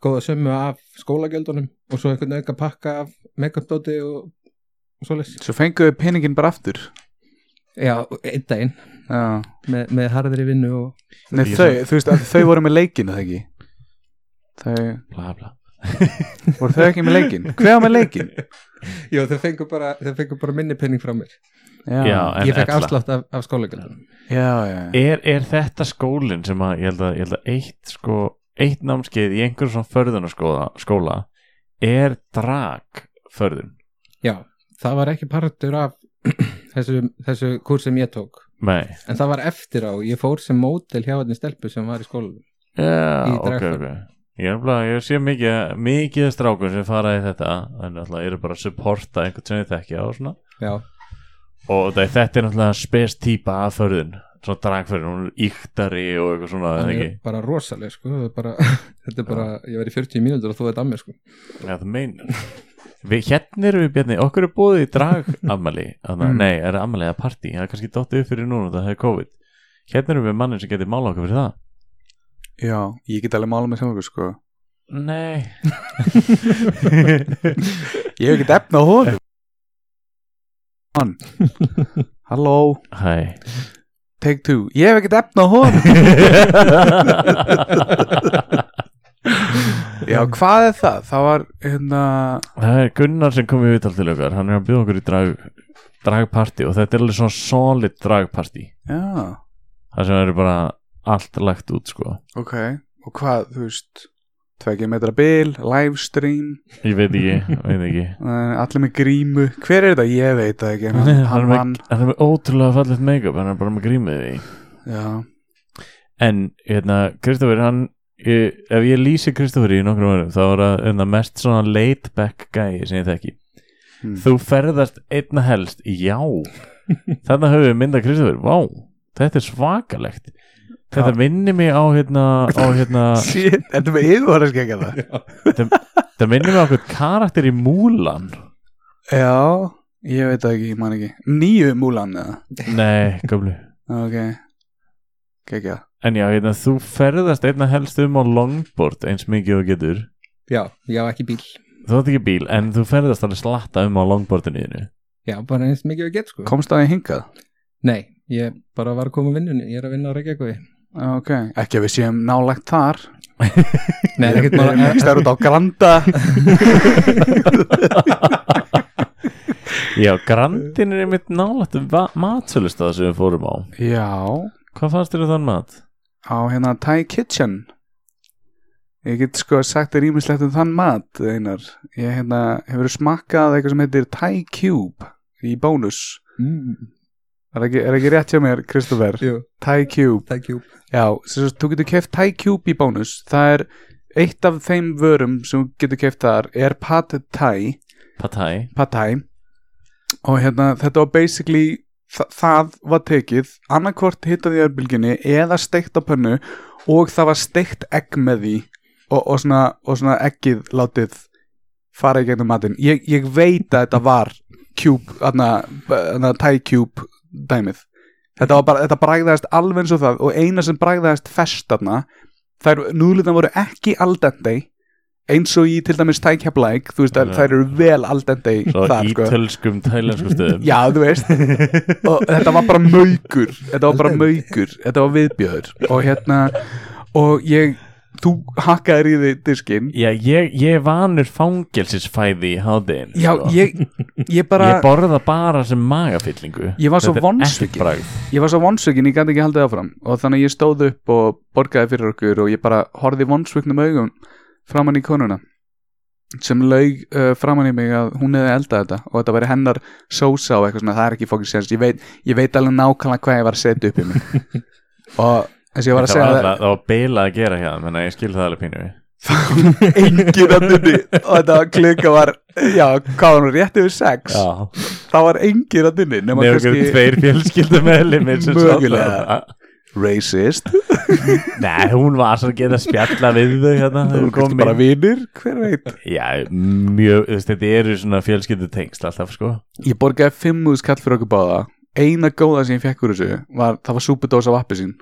Speaker 2: góða sömmu af skólagjöldunum og svo einhvern auka pakka af make-up-dóti og, og svoleiðis
Speaker 3: Svo fenguðu peningin bara aftur
Speaker 2: Já, einn daginn
Speaker 3: Já.
Speaker 2: með, með harðri vinnu og
Speaker 3: Nei,
Speaker 1: Ég-
Speaker 3: þau, þú veist að þau voru með leikinn það ekki Þau,
Speaker 1: Bla bla
Speaker 3: voru þau ekki með leikinn Hver var með leikinn?
Speaker 2: Jó, þau fengur bara, þau fengur bara minni penning frá mér
Speaker 3: Já,
Speaker 1: Já, en
Speaker 2: Ég fekk
Speaker 1: ella.
Speaker 2: afslátt af, af skólagjöldunum
Speaker 3: já, já.
Speaker 1: er, er þetta skólinn sem að ég held að, ég held að eitt, sko, eitt námskeið í einhverjum svona förðunarskóla skóla, er drag förðun?
Speaker 2: Já, það var ekki partur af þessu, þessu kurs sem ég tók
Speaker 1: Nei
Speaker 2: en það var eftir á, ég fór sem mótel hjá hvernig stelpu sem var í skólanum
Speaker 1: Já,
Speaker 2: Í
Speaker 1: ok,
Speaker 2: dragför.
Speaker 1: ok Ég, er nefnilega- ég sé mikið, mikið strákum sem fara í þetta en náttúrulega eru bara að supporta einhvern sem þið þekkja og svona
Speaker 2: Já,
Speaker 1: og það- þetta er náttúrulega spes típa af förðun svo dragförðun, hún er íktari og eitthvað svona, eða
Speaker 2: það
Speaker 1: ekki
Speaker 2: er bara rosaleg sko, það er bara, þetta er bara ég var í 40 mínútur og þú veit að mér sko
Speaker 1: Já, það meinar Við hérna erum við Bjarni, okkur er búið í drag ammali, þannig
Speaker 3: Mm.
Speaker 1: nei, er ammali eða partí, það er kannski dottið upp fyrir núna það er COVID, hérna erum við mannin sem getur mála okkur fyrir það
Speaker 3: já, ég get alveg mála með saman sko.
Speaker 1: Nei
Speaker 3: Ég hef ekki efna á hóð Hann Halló,
Speaker 1: Hæ
Speaker 3: take two Ég hef ekki efna á hóð Já, hvað er það? Það var, hérna
Speaker 1: Það er Gunnar sem kom í viðtal til okkar hann er að bjóða okkur í drag dragpartí og þetta er alveg svona solid dragpartí
Speaker 3: Já,
Speaker 1: það sem eru bara allt lagt út sko
Speaker 3: ok Og hvað, þú veist Tvekja metra bil, livestream
Speaker 1: Ég veit ekki, veit ekki
Speaker 3: uh, Allir með grímu Hver er þetta? Ég veit það ekki en
Speaker 1: Nei, hann,
Speaker 3: Hann,
Speaker 1: er
Speaker 3: hann vann
Speaker 1: með, hann er með ótrúlega fallegt make-up hann er bara með grímið í
Speaker 3: Já,
Speaker 1: En hérna, Kristoffer, hann ég, ef ég lýsi Kristoffer í nokkrum örum þá er það hérna, mest svona laid back gæi sem ég þekki.
Speaker 3: Hmm.
Speaker 1: Þú ferðast einna helst, já þarna höfum við myndað Kristoffer vá, þetta er svakalegt þetta
Speaker 3: Já.
Speaker 1: minnir mig á hérna, á hérna
Speaker 3: shit, þetta með hérna. yfirvara skekja það
Speaker 1: þetta minnir mig á okkur karakter í Múlan
Speaker 3: Já, ég veit það ekki, ég man ekki Nýju múlan eða
Speaker 1: Nei, gömlu
Speaker 3: Ok, kekja
Speaker 1: En já, hérna, þú ferðast einna helst um á longboard eins mikið og þú getur
Speaker 2: Já, ég á ekki bíl
Speaker 1: þú átt ekki bíl, en þú ferðast alveg slatta um á longboardinu þínu
Speaker 2: Já, bara eins mikið að geta sko
Speaker 3: Komst það í hingað?
Speaker 2: Nei, ég bara var að koma að vinnunni, ég er að vinna á Reykjavík
Speaker 3: Ok, ekki að við séum nálægt þar
Speaker 2: Nei,
Speaker 3: Við
Speaker 2: ekkert
Speaker 3: erum
Speaker 2: mála
Speaker 3: ekki stær út á Granda
Speaker 1: Já, grandin er einmitt nálægt matsölustað sem við fórum á
Speaker 3: Já,
Speaker 1: Hvað fannst þér um þann mat?
Speaker 3: á hérna Thai Kitchen Ég get sko sagt þér ímislegt um þann mat einar Ég hérna, hefur smakkað eitthvað sem heitir Thai Cube í bónus
Speaker 2: Mm,
Speaker 3: Er ekki, er ekki rétt hjá mér, Kristoffer?
Speaker 2: Jú,
Speaker 3: Thai Cube
Speaker 2: thank you
Speaker 3: Já, sem sagt, þú getur keft Thai Cube í bónus Það er eitt af þeim vörum sem þú getur keft þar er Pad Thai
Speaker 1: Patæ
Speaker 3: Pad Thai og hérna þetta var basically þa það var tekið annarkvort hittað í örbylginni eða steikt á pönnu og það var steikt egg með því og, og, svona, og svona eggið látið fara í gegnum matinn ég, ég veit að þetta var cube, þarna, þarna Thai cube dæmið þetta, var bara, þetta bragðaðist alveg eins og það og eina sem bragðaðist fest þarna þær núliðan voru ekki aldendei eins og í til dæmis Thai Keplæk þú veist þær,
Speaker 1: Já.
Speaker 3: þær eru vel aldendei
Speaker 1: Svo
Speaker 3: þar sko
Speaker 1: ítölskum tælensku stöðum
Speaker 3: Já, þú veist og þetta var bara maukur þetta var bara
Speaker 2: Aldrei.
Speaker 3: maukur, þetta var viðbjöður og hérna og ég, þú hakkaðir í því diskinn
Speaker 1: Já, ég, ég er vanur fangelsisfæði í hádegin
Speaker 3: Já,
Speaker 1: sko.
Speaker 3: ég, ég bara
Speaker 1: Ég borða bara sem magafyllingu
Speaker 3: Ég var svo
Speaker 1: Þetta er
Speaker 3: vonsvikinn.
Speaker 1: ekkert bragð.
Speaker 3: ég var svo vonsvikinn, ég gæti ekki haldið áfram og þannig að ég stóð upp og borgaði fyrir okkur og ég bara horfði vonsviknum augum framann í konuna sem laug uh, framann í mig að hún hefði eldað þetta og þetta væri hennar sósa og eitthvað svona, það er ekki fókis séns ég veit, ég veit alveg nákvæmlega hvað ég var að setja upp í mig og þess að ég var að
Speaker 1: Það var,
Speaker 3: segja
Speaker 1: alveg, það var beilað að gera hérna Þannig að ég skil það alveg pínu
Speaker 3: það engin andinni og þetta klukka var, já, hvað var nú rétt yfir sex,
Speaker 1: Já
Speaker 3: það var engin andinni nema
Speaker 1: Nefnir kannski...
Speaker 3: kannski
Speaker 1: tveir fjölskyldum meðlimir
Speaker 3: Mögulega. racist
Speaker 1: Nei, hún var svo að geta spjalla við þau hérna þegar
Speaker 3: þú
Speaker 1: við
Speaker 3: komst
Speaker 1: komum
Speaker 3: bara
Speaker 1: inn.
Speaker 3: vinir, hver veit
Speaker 1: Já, mjög, þú veist, þetta eru svona fjölskyldu tengsl alltaf, sko
Speaker 3: ég borgaði fimm úr skall fyrir okkur báða eina góða sem ég fekk úr þessu var, það var súpudós af appi sín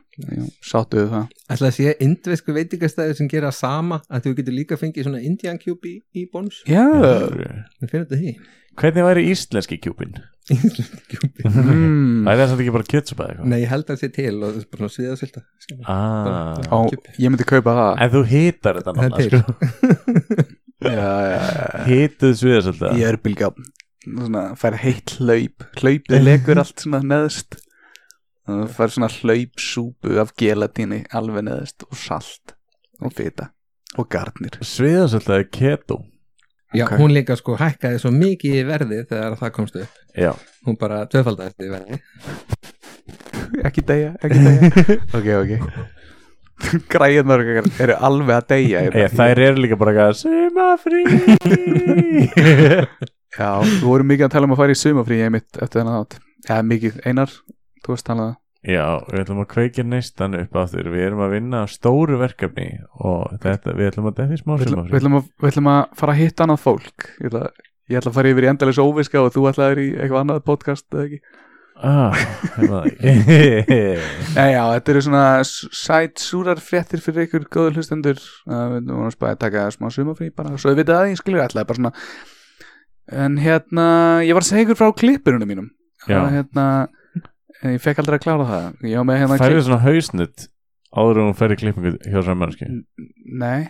Speaker 3: sáttu við það
Speaker 2: Ætla að sé indvesku veitingastæður sem gera sama að þú getur líka fengið svona Indian Cube í, í bóns
Speaker 3: já,
Speaker 2: Við finnum þetta því
Speaker 1: Hvernig væri íslenski kjúpin?
Speaker 2: Indian Cube
Speaker 3: mm.
Speaker 1: Það er þetta ekki bara kjötsupa eða eitthvað?
Speaker 2: Nei, ég held að það sé til og það er bara svona sviðasvilda
Speaker 1: Ah,
Speaker 3: Á, ég myndi kaupa það
Speaker 1: en þú hitar þetta
Speaker 2: Það
Speaker 1: náttúrulega,
Speaker 2: er
Speaker 1: sko
Speaker 2: til
Speaker 3: já, já, já.
Speaker 1: Hituð sviða svolítið
Speaker 3: ég er bylgja svona, fær heitt hlaup hlaupið legur allt svona neðst og þú fær svona hlaupsúpu af gelatíni alveg neðst og salt og fita og garnir
Speaker 1: Sviða svolítið er keto
Speaker 2: Já,
Speaker 3: Ok.
Speaker 2: hún líka sko hækkaði svo mikið í verði þegar það komst upp
Speaker 1: Já,
Speaker 2: Hún bara tvöfaldaðist í verði
Speaker 3: ekki deyja, ekki deyja ok, ok græðnar eru alveg að deyja hérna.
Speaker 1: Eða, þær eru líka bara eitthvað Sumafrí
Speaker 3: já, við vorum mikið að tala um að fara í sumafrí ég mitt eftir þennan átt já, mikið, Einar, þú varst um talað
Speaker 1: Já, við ætlum að kveikja neistan upp á þér Við erum að vinna að stóru verkefni og þetta, við ætlum að defi smá
Speaker 3: við ætlum- við
Speaker 1: sumafrí
Speaker 3: ætlum að- við ætlum að fara að hitta annað fólk ég ætla, ég ætla að fara yfir í endalis óviska og þú ætlaðir í eitthvað annað podcast eða ekki
Speaker 1: Ah, hérna það.
Speaker 3: Nei, já, þetta eru svona s- sæt súrar fréttir fyrir ykkur góður hlustendur uh, við vorum spæði að taka smá sumafrí bara, svo við vitið að ég skilur alltaf bara svona en hérna, ég var að segja ykkur frá klippurunum mínum
Speaker 1: Já.
Speaker 3: að, hérna, en ég fekk aldrei að klára það ég var með hérna
Speaker 1: Færðu svona hausnutt áður en hún fer í klippingu hjá svona mannski
Speaker 3: Nei,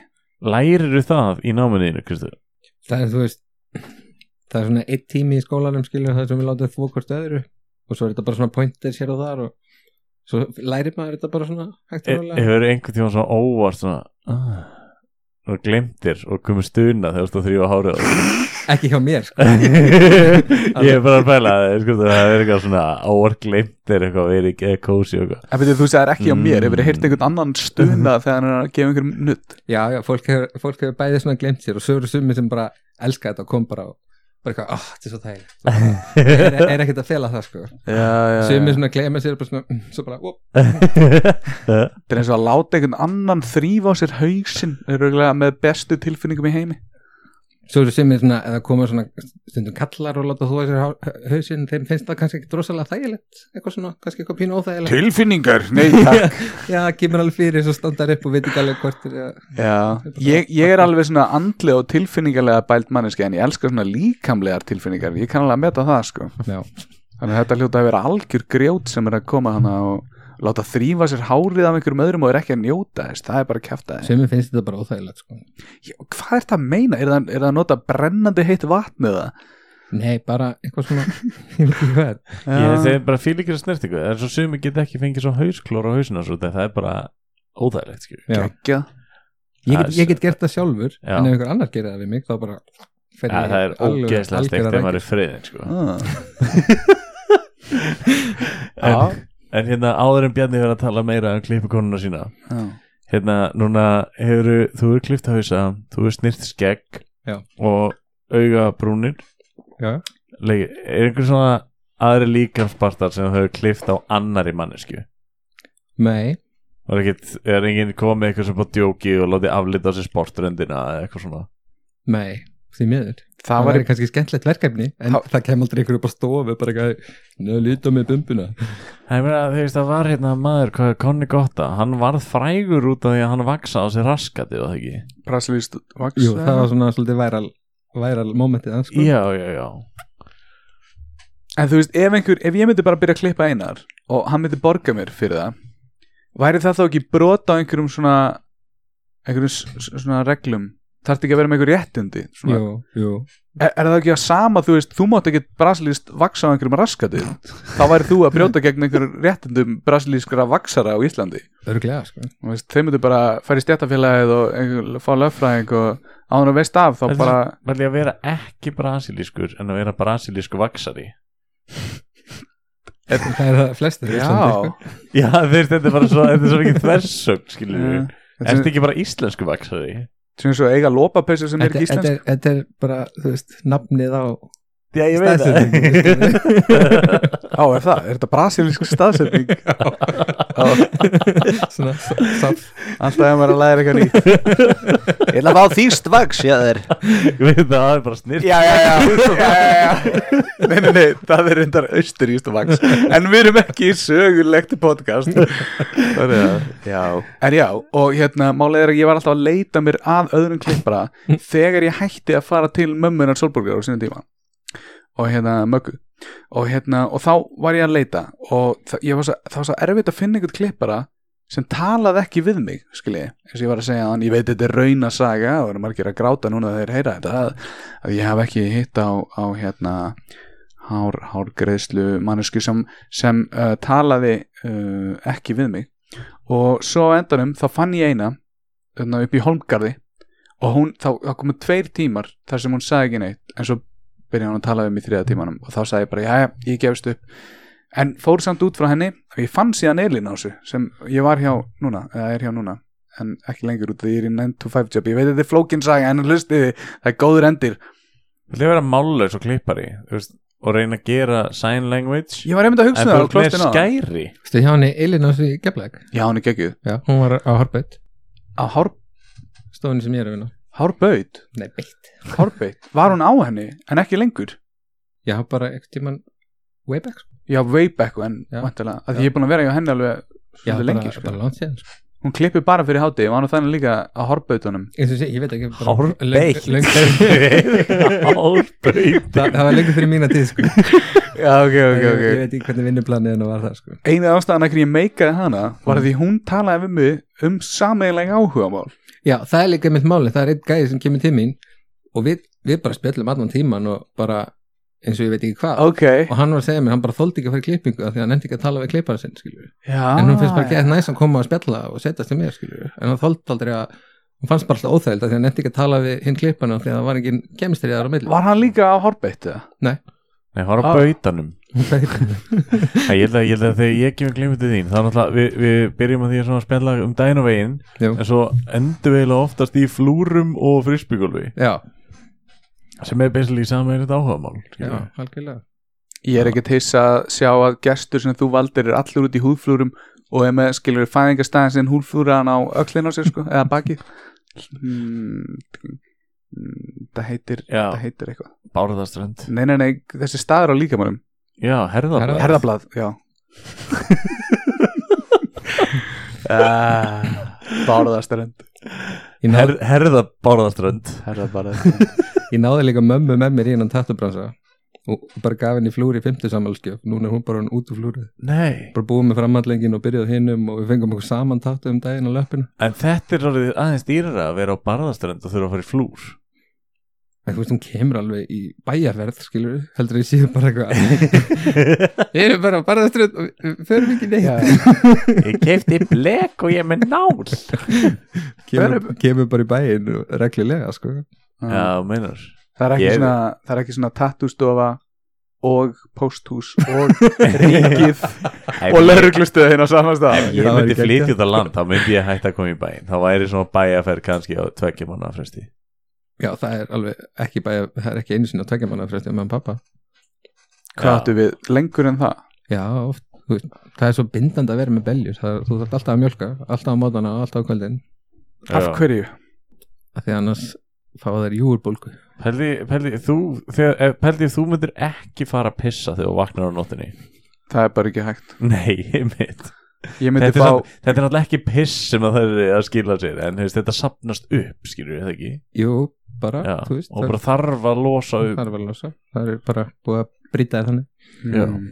Speaker 1: Læriru það í námiðinu, Kristu?
Speaker 2: það er þú veist það er svona eitt tími í skólanum skilur það sem við látum þvó hvort öðru og svo er þetta bara svona pointers hér og þar og svo lærir maður þetta bara svona hægt
Speaker 1: Eh,
Speaker 2: og rólega
Speaker 1: Hefur E- einhvern tíma svona óvart svona ah, og glemtir og komið stuna þegar þú stóð þrjú á hárið á þér?
Speaker 2: ekki hjá mér sko
Speaker 1: Ég er bara að pæla það, Kristu, það er eitthvað svona óvart glemtir eitthvað verið eða kósi og eitthvað
Speaker 3: en veitir, þú segir ekki á mér
Speaker 1: Mm.
Speaker 3: hefur þið heyrt einhvern annan stuna þegar hann er að gefa einhverjum nutt
Speaker 2: já já, fólk hefur, fólk hefur bæðið svona glemt sér og svo eru sumir sem bara elska þetta og kom bara og bara eitthvað, ah, þetta er svo þægilegt er, er ekkert að fela það sko
Speaker 3: Já, já,
Speaker 2: sumir svona glemir sér bara svona, mm, svo bara, ó,
Speaker 3: Þetta er eins og að láta einhvern annan þrýfa á sér hausinn öruglega með bestu tilfinningum í heimi
Speaker 2: svo eru sumir svona eða koma svona stundum kallar og láta þú að sér há- hausinn, þeim finnst það kannski ekki drosalega þægilegt eitthvað svona, kannski eitthvað pínu óþægilegt
Speaker 3: Tilfinningar? Nei, takk
Speaker 2: Já, það kemur alveg fyrir svo standar upp og veit ekki alveg hvort er að...
Speaker 3: Já, ég, ég er alveg svona andlega og tilfinningarlega bælt manneski en ég elska svona líkamlegar tilfinningar ég kann alveg að meta það sko
Speaker 2: Já,
Speaker 3: þannig að þetta hljóta að vera algjör grjót sem er að koma hana og láta þrýfa sér hárið af einhverjum öðrum og er ekki að njóta þess það er bara að kæfta þess
Speaker 2: sem mér finnst þetta bara óþægilegt sko.
Speaker 3: Hvað er það að meina? Er það, er það að nota brennandi heitt vatn eða?
Speaker 2: Nei, bara eitthvað svona Ég veit ekki hvað
Speaker 1: Ég segi bara fíl ekki að snert eitthvað Það er svo sumi get ekki fengið svo hausklór á hausina svo það er bara óþægilegt skil
Speaker 2: Já.
Speaker 3: Gekkja
Speaker 2: ég get, ég get gert það sjálfur
Speaker 1: Já.
Speaker 2: en ef einhver annar gerir það við mig þá bara fer
Speaker 1: Ja,
Speaker 2: ég
Speaker 1: það er
Speaker 2: alveg-
Speaker 1: ógeðslega
Speaker 2: algjöra
Speaker 1: steikt þegar maður
Speaker 2: rækju.
Speaker 1: er friðin sko.
Speaker 3: ah. Já.
Speaker 1: en, en hérna áður en Bjarni verið að tala meira um klippikonuna sína
Speaker 3: Já.
Speaker 1: hérna núna hefur þú er klift hausa, þú er snirt skegg
Speaker 2: Já.
Speaker 1: og auga brúnir
Speaker 2: Já.
Speaker 1: er einhver svona aðri líkanspartar sem þú hefur klift á annari mannesku
Speaker 2: Nei,
Speaker 1: og ekkert, er enginn komið eitthvað sem búið djóki og látið aflita á sér sportröndina eða eitthvað svona
Speaker 2: nei, því miður Það,
Speaker 3: Það var
Speaker 2: væri kannski skemmtlegt verkefni en
Speaker 3: Þá-
Speaker 2: það kem aldrei einhver upp á stofu bara eitthvað, neða lítið á mig bumbuna
Speaker 1: Það er meira að þú veist að var hérna maður hvað er Conny Gotta, hann varð frægur út af því að hann vaksa á sér raskati og það ekki
Speaker 3: brasilíst vaks
Speaker 2: Jú, það var svona svolítið væral, væral momentið hans, sko.
Speaker 1: Já, já, já
Speaker 3: En þú veist, ef, einhver, ef ég myndi bara byrja að klippa einar og hann myndi borga mér fyrir það væri það þá ekki brot á einhverjum svona einhverjum s- s- svona reglum þarf ekki að vera með einhver réttindi svona,
Speaker 2: jú, jú.
Speaker 3: er, er það ekki að sama, þú veist, þú mátt ekki brasilíst vaksa á einhverjum raskati þá væri þú að brjóta gegn einhverjum réttindum brasilískra vaksara á Íslandi
Speaker 2: Örglega, sko.
Speaker 3: Þú veist, þeir myndu bara fara í stjættafélagið og einhver, fá löffræðing og án og veist af þá
Speaker 1: Þetta er
Speaker 3: bara,
Speaker 1: Vel ég að vera ekki brasilískur en að vera brasilísku vaksari
Speaker 2: Það er það flestir í
Speaker 3: já
Speaker 2: Íslandi, sko.
Speaker 1: Já, þú veist, þetta er bara svo, þetta er svo ekki þversögn, skilur við
Speaker 3: Eh, þetta
Speaker 1: Ertu
Speaker 3: er
Speaker 1: ekki bara íslensku vaksari?
Speaker 3: sem svo eiga lópapeysur sem er
Speaker 2: Þetta
Speaker 3: ekki
Speaker 2: þetta
Speaker 3: íslensk
Speaker 2: er, þetta er bara, þú veist, nafnið á
Speaker 4: Já, ég veit það
Speaker 3: Á, er það? Er þetta brasilísk staðsetning?
Speaker 2: svona satt
Speaker 3: Alltaf ef maður er að læra eitthvað nýtt
Speaker 4: Ég ætla að fá þýst vaks, já þeir
Speaker 1: Ég veit það, það er bara snill
Speaker 3: Já, já, já, já, já, já. Nei, nei, nei, það er reyndar austuríst vaks En við erum ekki í sögulegt podcast Þannig að, Já En já, og hérna, málið er að ég var alltaf að leita mér að öðrum klippara Þegar ég hætti að fara til mömmunar Solborgar á sinni tíma Og hérna, möggu Og hérna, og þá var ég að leita Og það, ég var svo, það var svo erfitt að finna einhvern klippara sem talaði ekki við mig, skilji eins og ég var að segja hann, ég veit þetta er raunasaga og það eru margir að gráta núna þegar þeir heyra þetta að, að ég hef ekki hitt á, á hérna hár, hárgreðslu mannesku sem, sem uh, talaði uh, ekki við mig og svo á endanum þá fann ég eina þarna, upp í Holmgarði og hún, þá, þá komu tveir tímar þar sem hún sagði ekki neitt en svo byrjaði hún að tala við mig í þriða tímanum og þá sagði ég bara, jæja, ég gefst upp en fór samt út frá henni og ég fann síðan Elin á þessu sem ég var hjá núna, eða er hjá núna en ekki lengur út af því ég er í 9 to 5 job ég veit að þetta er flókin saga en hlustiði það er góður endir
Speaker 1: Það er að vera mállaus og klippari þú veist, og reyna að gera sign language
Speaker 3: ég var einmitt að hugsa
Speaker 1: en
Speaker 3: það
Speaker 1: þú
Speaker 3: og
Speaker 1: ert
Speaker 3: klósti
Speaker 1: með
Speaker 3: ná
Speaker 1: skæri
Speaker 2: Vistu hjá henni Elin á þessu gefleg
Speaker 3: já hann er geggjuð
Speaker 2: Já, hún var á Horbett
Speaker 3: á hár,
Speaker 2: stofunni sem ég er að vinna
Speaker 3: hárbaut
Speaker 2: Nei, beitt
Speaker 3: hárbeit var hún á henni en ekki lengur
Speaker 2: Já, bara ekkert tíman way back sko.
Speaker 3: já way back when
Speaker 2: Já.
Speaker 3: vantilega að
Speaker 2: Já.
Speaker 3: ég er búin að vera hjá henni alveg
Speaker 2: Já,
Speaker 3: svolítið lengi
Speaker 2: bara,
Speaker 3: sko.
Speaker 2: bara langt séðan
Speaker 3: hún klippi bara fyrir hátegi og hann var þannig líka á hárbautunum
Speaker 2: Ég, sé, ég veit ekki bara-
Speaker 4: Hárbeitt.
Speaker 2: löng- löng-
Speaker 1: Hárbauti
Speaker 2: Það það var lengur fyrir mína tíð sko. okay,
Speaker 3: já ok ok
Speaker 2: ég, ég veit ekki hvernig vinnuplanið hennar var það sko.
Speaker 3: eina ástæðan að hvernig ég meikaði hana var að því hún talaði við mig um sameiginlega áhuga mál
Speaker 2: Já, það er líka mitt máli, það er einn gæði sem kemur til mín og við, við bara spjallum allan tíman og bara eins og ég veit ekki hvað
Speaker 3: ok
Speaker 2: og hann var að segja mér, hann bara þóldi ekki að fara í klippingu af því að hann nefndi ekki að tala við klippara sinn skilur við.
Speaker 3: já,
Speaker 2: en hún finnst
Speaker 3: Ah.
Speaker 2: bara ekki að næst að koma að spjalla og setjast til mér skilur við. en hann þóldi aldrei að hún fannst bara alltaf óþægild af því að hann nefndi ekki að tala við hinn klippana af því að það var engin kemistri þar á milli
Speaker 3: var hann líka á hárbeit eða?
Speaker 1: Nei, horf á bautanum Æ, Ég held að, ég held að þegar ég kemur glimur til þín þá náttúrulega við, við byrjum að því að svona spjalla um daginn og veginn
Speaker 2: Jú.
Speaker 1: en svo endur við eiginlega oftast í flúrum og frisbygulvi
Speaker 2: Já,
Speaker 1: sem er basically sammeiritt áhugamál
Speaker 2: já,
Speaker 1: skilurðu.
Speaker 2: algjörlega
Speaker 3: Ég er ekkert hissa að sjá að gestur sem þú valdir er allur út í húðflúrum og er með, skilur, fæðingastæðin sem húðflúran á öxlinn á sér, sko, eða bakið mm, mm, Það heitir,
Speaker 1: Já.
Speaker 3: það heitir eitthvað
Speaker 1: Bárðarströnd
Speaker 3: Nei, nei, nei, þessi staður á líkamannum
Speaker 1: Já, herðablað
Speaker 2: Herða-
Speaker 3: Herðablað, já ah, Bárðastarönd
Speaker 2: Ég, náð,
Speaker 1: Her, Herða bárðarströnd
Speaker 3: Herðablað
Speaker 2: ég náði líka mömmu með mér í hennan tattubransa og og bara gaf henni flúri í fymtusamhalskjöf núna er hún bara hann út úr flúrið
Speaker 1: Nei,
Speaker 2: bara búið með framhandlingin og byrjað hinnum og við fengum okkur saman tattu um daginn á löppinu
Speaker 1: en þetta er orðið aðeins dýrara að vera á barðarströnd og þurfa að fara í flúr
Speaker 2: en þú veist hún kemur alveg í bæjarverð skilur við, heldur við síðan bara eitthvað við erum bara bara það strönd og við förum ekki neitt
Speaker 1: Ég kefti blek og ég er með nál
Speaker 2: kemur, kemur bara í bæinn og reglulega sko
Speaker 1: Já, meinar
Speaker 3: Það er ekki
Speaker 1: Ég-
Speaker 3: svona, það er ekki svona tattústofa og pósthús og ríkið og lauruglustöð hérna á saman stað
Speaker 1: Ég
Speaker 2: Það væri
Speaker 1: myndi
Speaker 2: geggjað.
Speaker 1: flytja þetta land, þá myndi ég hætta að koma í bæinn Þá væri svona bæjarferð kannski á tveggja manna fresti
Speaker 2: já það er alveg ekki bæjar það er ekki einu sinni að tekja manna fyrir stjórn með pappa
Speaker 3: Hvað
Speaker 1: Já.
Speaker 3: áttu við? Lengur en það?
Speaker 2: já oft þú veist, það er svo bindandi að vera með beljur það, þú þarf alltaf að mjölka, alltaf á mótana og alltaf á kvöldin
Speaker 3: Af hverju?
Speaker 2: af því annars fá þær júurbólgu
Speaker 1: Peldi, peldi, þú, þegar, eh, peldi, þú myndir ekki fara að pissa þegar þú vaknar á nóttinni
Speaker 3: Það er bara ekki hægt
Speaker 1: Nei, einmitt
Speaker 3: Ég myndi
Speaker 1: þetta, er
Speaker 3: fá,
Speaker 1: samt, þetta er náttúrulega ekki piss sem það er að skila sér En hefst, þetta sapnast upp, skilur við þetta ekki
Speaker 2: jú, bara,
Speaker 1: Já,
Speaker 2: þú veist
Speaker 1: Og bara þarf að losa
Speaker 2: það
Speaker 1: upp
Speaker 2: er vel losa, það er bara búið að brýta þér þannig
Speaker 1: Já.
Speaker 3: Mm.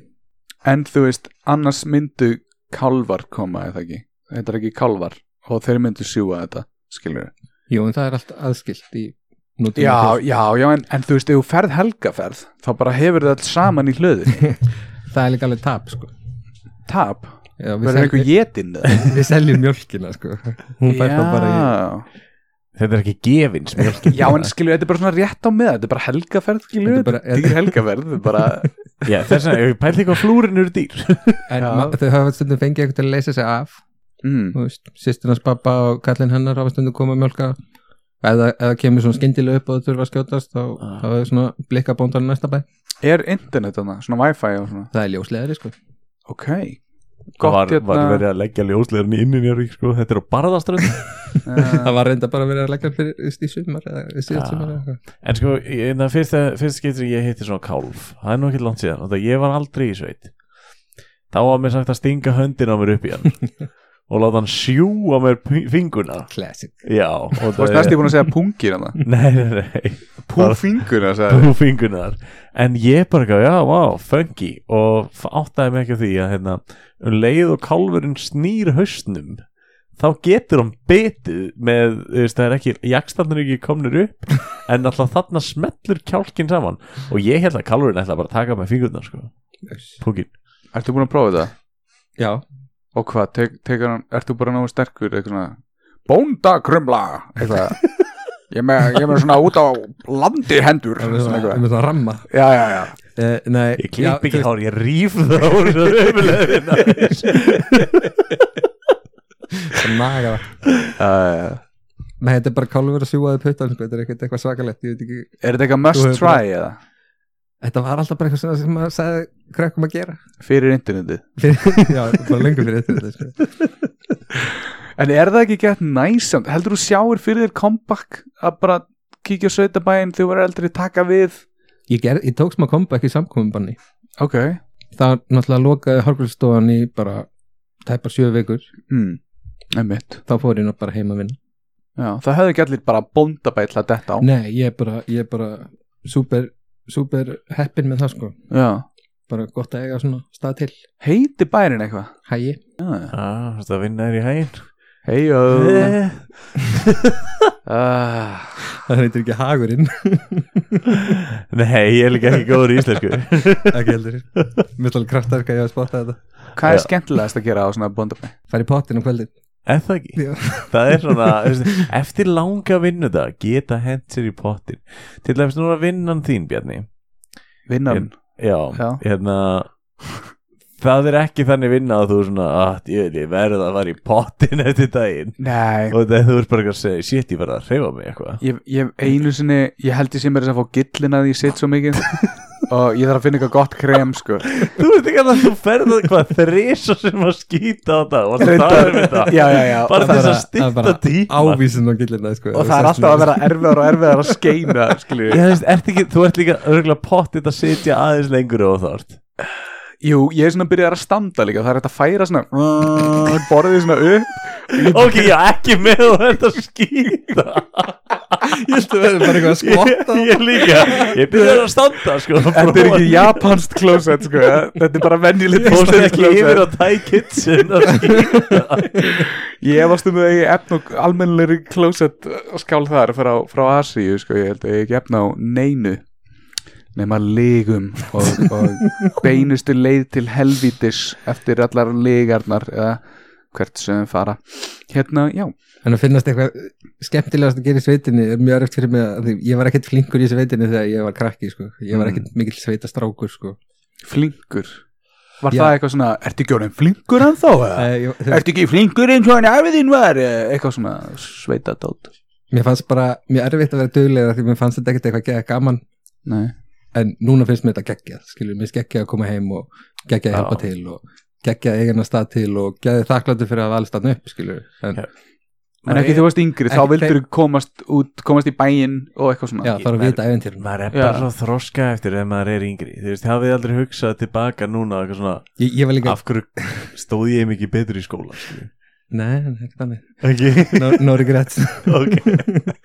Speaker 3: En þú veist, annars myndu kálvar koma eða ekki Þetta er ekki kálvar og þeir myndu sjúa þetta skilur
Speaker 2: Jú, en það er allt aðskilt í nútíma
Speaker 3: Já,
Speaker 2: þjóð.
Speaker 3: já, já, en, en þú veist, ef þú ferð helgaferð þá bara hefur það alls saman í hlöðu
Speaker 2: Það er líka alveg tap, sko
Speaker 3: Tap,
Speaker 2: já, við,
Speaker 3: verður einhver
Speaker 2: seljum,
Speaker 3: jetinn eða?
Speaker 2: við seljum mjölkina, sko Hún fær þá bara í
Speaker 3: Já,
Speaker 1: Þetta er ekki gefins mjölk
Speaker 3: já, en skilur, þetta er bara svona rétt á með þetta er bara helgaferð, skilur
Speaker 2: Þetta er bara-
Speaker 3: dýr helgaferð, þetta er bara
Speaker 1: Já, þess að pældi hvað flúrin eru dýr
Speaker 2: En
Speaker 3: Já.
Speaker 2: ma- þau hafa stundum fengið eitthvað til að leysa sig af
Speaker 3: mm.
Speaker 2: Þú veist, Sýstirnas pappa og kallinn hennar hafa stundum komið að mjölka Eða, eða kemur svona skyndilega upp og þau þurfa að skjótast þá
Speaker 1: Ah.
Speaker 2: hafa þau svona blikka bóndan næsta bæ
Speaker 3: er internet þarna, svona wifi og svona
Speaker 2: það er ljósleðari sko
Speaker 3: ok,
Speaker 1: Gott, var,
Speaker 3: gott
Speaker 1: var
Speaker 3: hérna
Speaker 1: verið að leggja ljósleðurinn inn í mér sko. þetta er á barðaströnd
Speaker 3: eh,
Speaker 2: það var reynda bara að vera að leggja fyrir þú veist, í sumar eða í síðast
Speaker 1: Já.
Speaker 2: sumar eða eitthvað.
Speaker 1: en sko, ég- na, fyrst, fyrst skiptir sem ég hitti svona kálf það er nú ekki langt síðan, þetta ég var aldrei í sveit þá var mér sagt að stinga höndin á mér upp í hann og láta hann sjúa mér pi- fingurna
Speaker 2: classic
Speaker 1: já, og
Speaker 3: þú varst næstu búin að segja pungir þarna
Speaker 1: nei, nei, nei
Speaker 3: pungfingur að segja
Speaker 1: Blue Fingunar en ég bara ekki, já, vá, funky og f- áttaði mig ekki á því að hérna, um leið og kálfurinn snýr hausnum þá getur hann betið með, þú veist, það er ekki jakstandur ekki komnir upp en alltaf þarna smellur kjálkin saman og ég held að kálfurinn ætla bara að taka með fingurnar sko, púkin
Speaker 3: ertu búin að prófa þetta?
Speaker 2: já
Speaker 3: og hvað, tek, tekur hann, ertu bara náðu sterkur eitthvað svona, bóndakrumla eitthvað ég er með, ég er með svona út á landi hendur
Speaker 2: það er
Speaker 3: svona
Speaker 2: svona-
Speaker 3: eitthvað
Speaker 2: með svona ramma
Speaker 3: já, já, já
Speaker 2: Eh, nei,
Speaker 1: ég
Speaker 2: já,
Speaker 1: klipp
Speaker 2: þú
Speaker 1: ekki hár, ég rýf það úr það umlega
Speaker 2: veist, naga það.
Speaker 3: uh,
Speaker 2: nei, þetta er bara kálfur að sjúaði puttan sko. þetta er ekkert eitthvað svakalegt ég veit ekki
Speaker 3: er þetta eitthvað
Speaker 2: Þú
Speaker 3: must
Speaker 2: hefur
Speaker 3: try eða?
Speaker 2: þetta var alltaf bara eitthvað svona sem maður sagði krökkum að gera
Speaker 3: fyrir internetið
Speaker 2: Fyrir- já, bara lengur fyrir þetta sko.
Speaker 3: En er það ekki gett næsamt? Heldur þú sjáir fyrir þér comeback að bara kíkja á sveitabæin þegar þú verður eldri taka við?
Speaker 2: ég, ger, ég tók smá comeback í samkomum banni
Speaker 3: Ok.
Speaker 2: það náttúrulega lokaði hálfgröðstofan í bara tæpar sjö vikur
Speaker 3: Mm. Einmitt.
Speaker 2: þá fór ég nú bara heim að vinna
Speaker 3: Já, það hefði ekki allir bara bóndabæl að detta á.
Speaker 2: nei, ég er bara, ég er bara super, super heppin með það sko
Speaker 3: Já.
Speaker 2: bara gott að eiga svona stað til
Speaker 3: Heiti bærin eitthvað?
Speaker 2: hægi,
Speaker 3: Já.
Speaker 1: það vinna er í hægin
Speaker 3: Heiðu.
Speaker 1: Eh,
Speaker 3: Uh,
Speaker 2: það heitir ekki hagurinn
Speaker 1: nei, ég er líka ekki góður í íslensku
Speaker 2: ekki heldur, mittal kraftarka ég að spotta þetta,
Speaker 3: hvað er
Speaker 1: Já.
Speaker 3: skemmtilegast að gera á svona bóndabæ?
Speaker 2: fara í pottin um kvöldin
Speaker 1: Er það ekki?
Speaker 2: Já.
Speaker 1: Það er svona, veist, eftir langa vinnu það, geta hent sér í pottin Til dæmis núna vinnan þín, Bjarni
Speaker 3: Vinnan.
Speaker 1: Já,
Speaker 3: Já.
Speaker 1: hérna Það er ekki þannig vinna að þú er svona að ég veit, ég verð að fara í pottin eftir daginn
Speaker 3: Nei.
Speaker 1: og það þú ert bara að segja, shit, ég verð að hreyfa mig eitthvað
Speaker 3: Ég, ég einu sinni, ég held ég sem er þess að fá gillin að ég sitt svo mikið og ég þarf að finna eitthvað gott krem sko
Speaker 1: Þú veit ekki að þú ferð að hvað þrisa sem að skýta á það og það er með
Speaker 3: Reyndar-
Speaker 1: það
Speaker 3: Já, já, já
Speaker 1: Bara
Speaker 3: Og það-
Speaker 1: þess að
Speaker 2: það er bara
Speaker 1: stýta tíma
Speaker 2: ávísin á gillina sko,
Speaker 3: og það er alltaf að vera erfiðar og erfiðar að skeina skilju
Speaker 1: Já, þú veist, ert ekki, þú ert líka örgulega pottið að sitja aðeins lengur og það
Speaker 3: Jú, ég er svona að byrja að standa líka það er hægt að færa svona borðið svona upp
Speaker 1: Ok, já, ekki með þú ert að skýta
Speaker 2: þetta verður bara eitthvað að
Speaker 1: ég,
Speaker 2: skotta
Speaker 1: ég líka, ég byrjaði að standa sko,
Speaker 3: Þetta er ekki japanskt klósett sko Þetta er bara venjulegt
Speaker 1: Fórst
Speaker 3: íslenskt
Speaker 1: ekki yfir
Speaker 3: klósett
Speaker 1: að tæ kitsin að skýta
Speaker 3: Ég varst um að ég efna á almennilegri klósett skál þar frá, frá Asíu sko Ég held að ég ekki efna á neinu nema lígum og, og beinustu leið til helvítis eftir allar lígarnar eða hvert sem þeir fara Hérna, já
Speaker 2: en að finnast eitthvað skemmtilegast að gera í sveitinni er mjög erfitt fyrir mig að því ég var ekkert flinkur í sveitinni þegar ég var krakki sko. ég
Speaker 1: Mm.
Speaker 2: var ekkert mikill sveitastrákur sko.
Speaker 3: Flinkur Var
Speaker 2: Já.
Speaker 3: það eitthvað svona, ertu ekki orðin flinkur en þá?
Speaker 2: Eh, ég- þú-
Speaker 3: Ertu ekki flinkur eins og hann afið þín var? eh, Eitthvað svona sveitadót
Speaker 2: mér fannst bara, mér erfitt að vera duglega því mér fannst þetta ekkert eitthvað gegga gaman
Speaker 3: Nei
Speaker 2: en núna finnst mér þetta geggjað, skilur mér finnst geggjað að koma heim og geggjað að
Speaker 1: Já.
Speaker 2: hjálpa til og geggjað eigin að stað til og geggjað þakkláttu fyrir að valst hann upp, skilur en,
Speaker 1: Já.
Speaker 3: En ekki þú varst yngri, þá
Speaker 2: Ekki
Speaker 3: vildur þú komast út, komast í bæinn og eitthvað svona
Speaker 2: já, þarf að vita eventýr
Speaker 1: Maður er
Speaker 3: Já.
Speaker 1: bara svo þroska eftir ef maður er yngri Þú veist, hafið þið aldrei hugsað tilbaka núna eitthvað svona,
Speaker 2: ég, ég var líka,
Speaker 1: af hverju stóð ég mikið betur í skóla skilju?
Speaker 2: nei, nei, ekki þannig
Speaker 1: Ekki,
Speaker 2: no, no regrets
Speaker 1: ok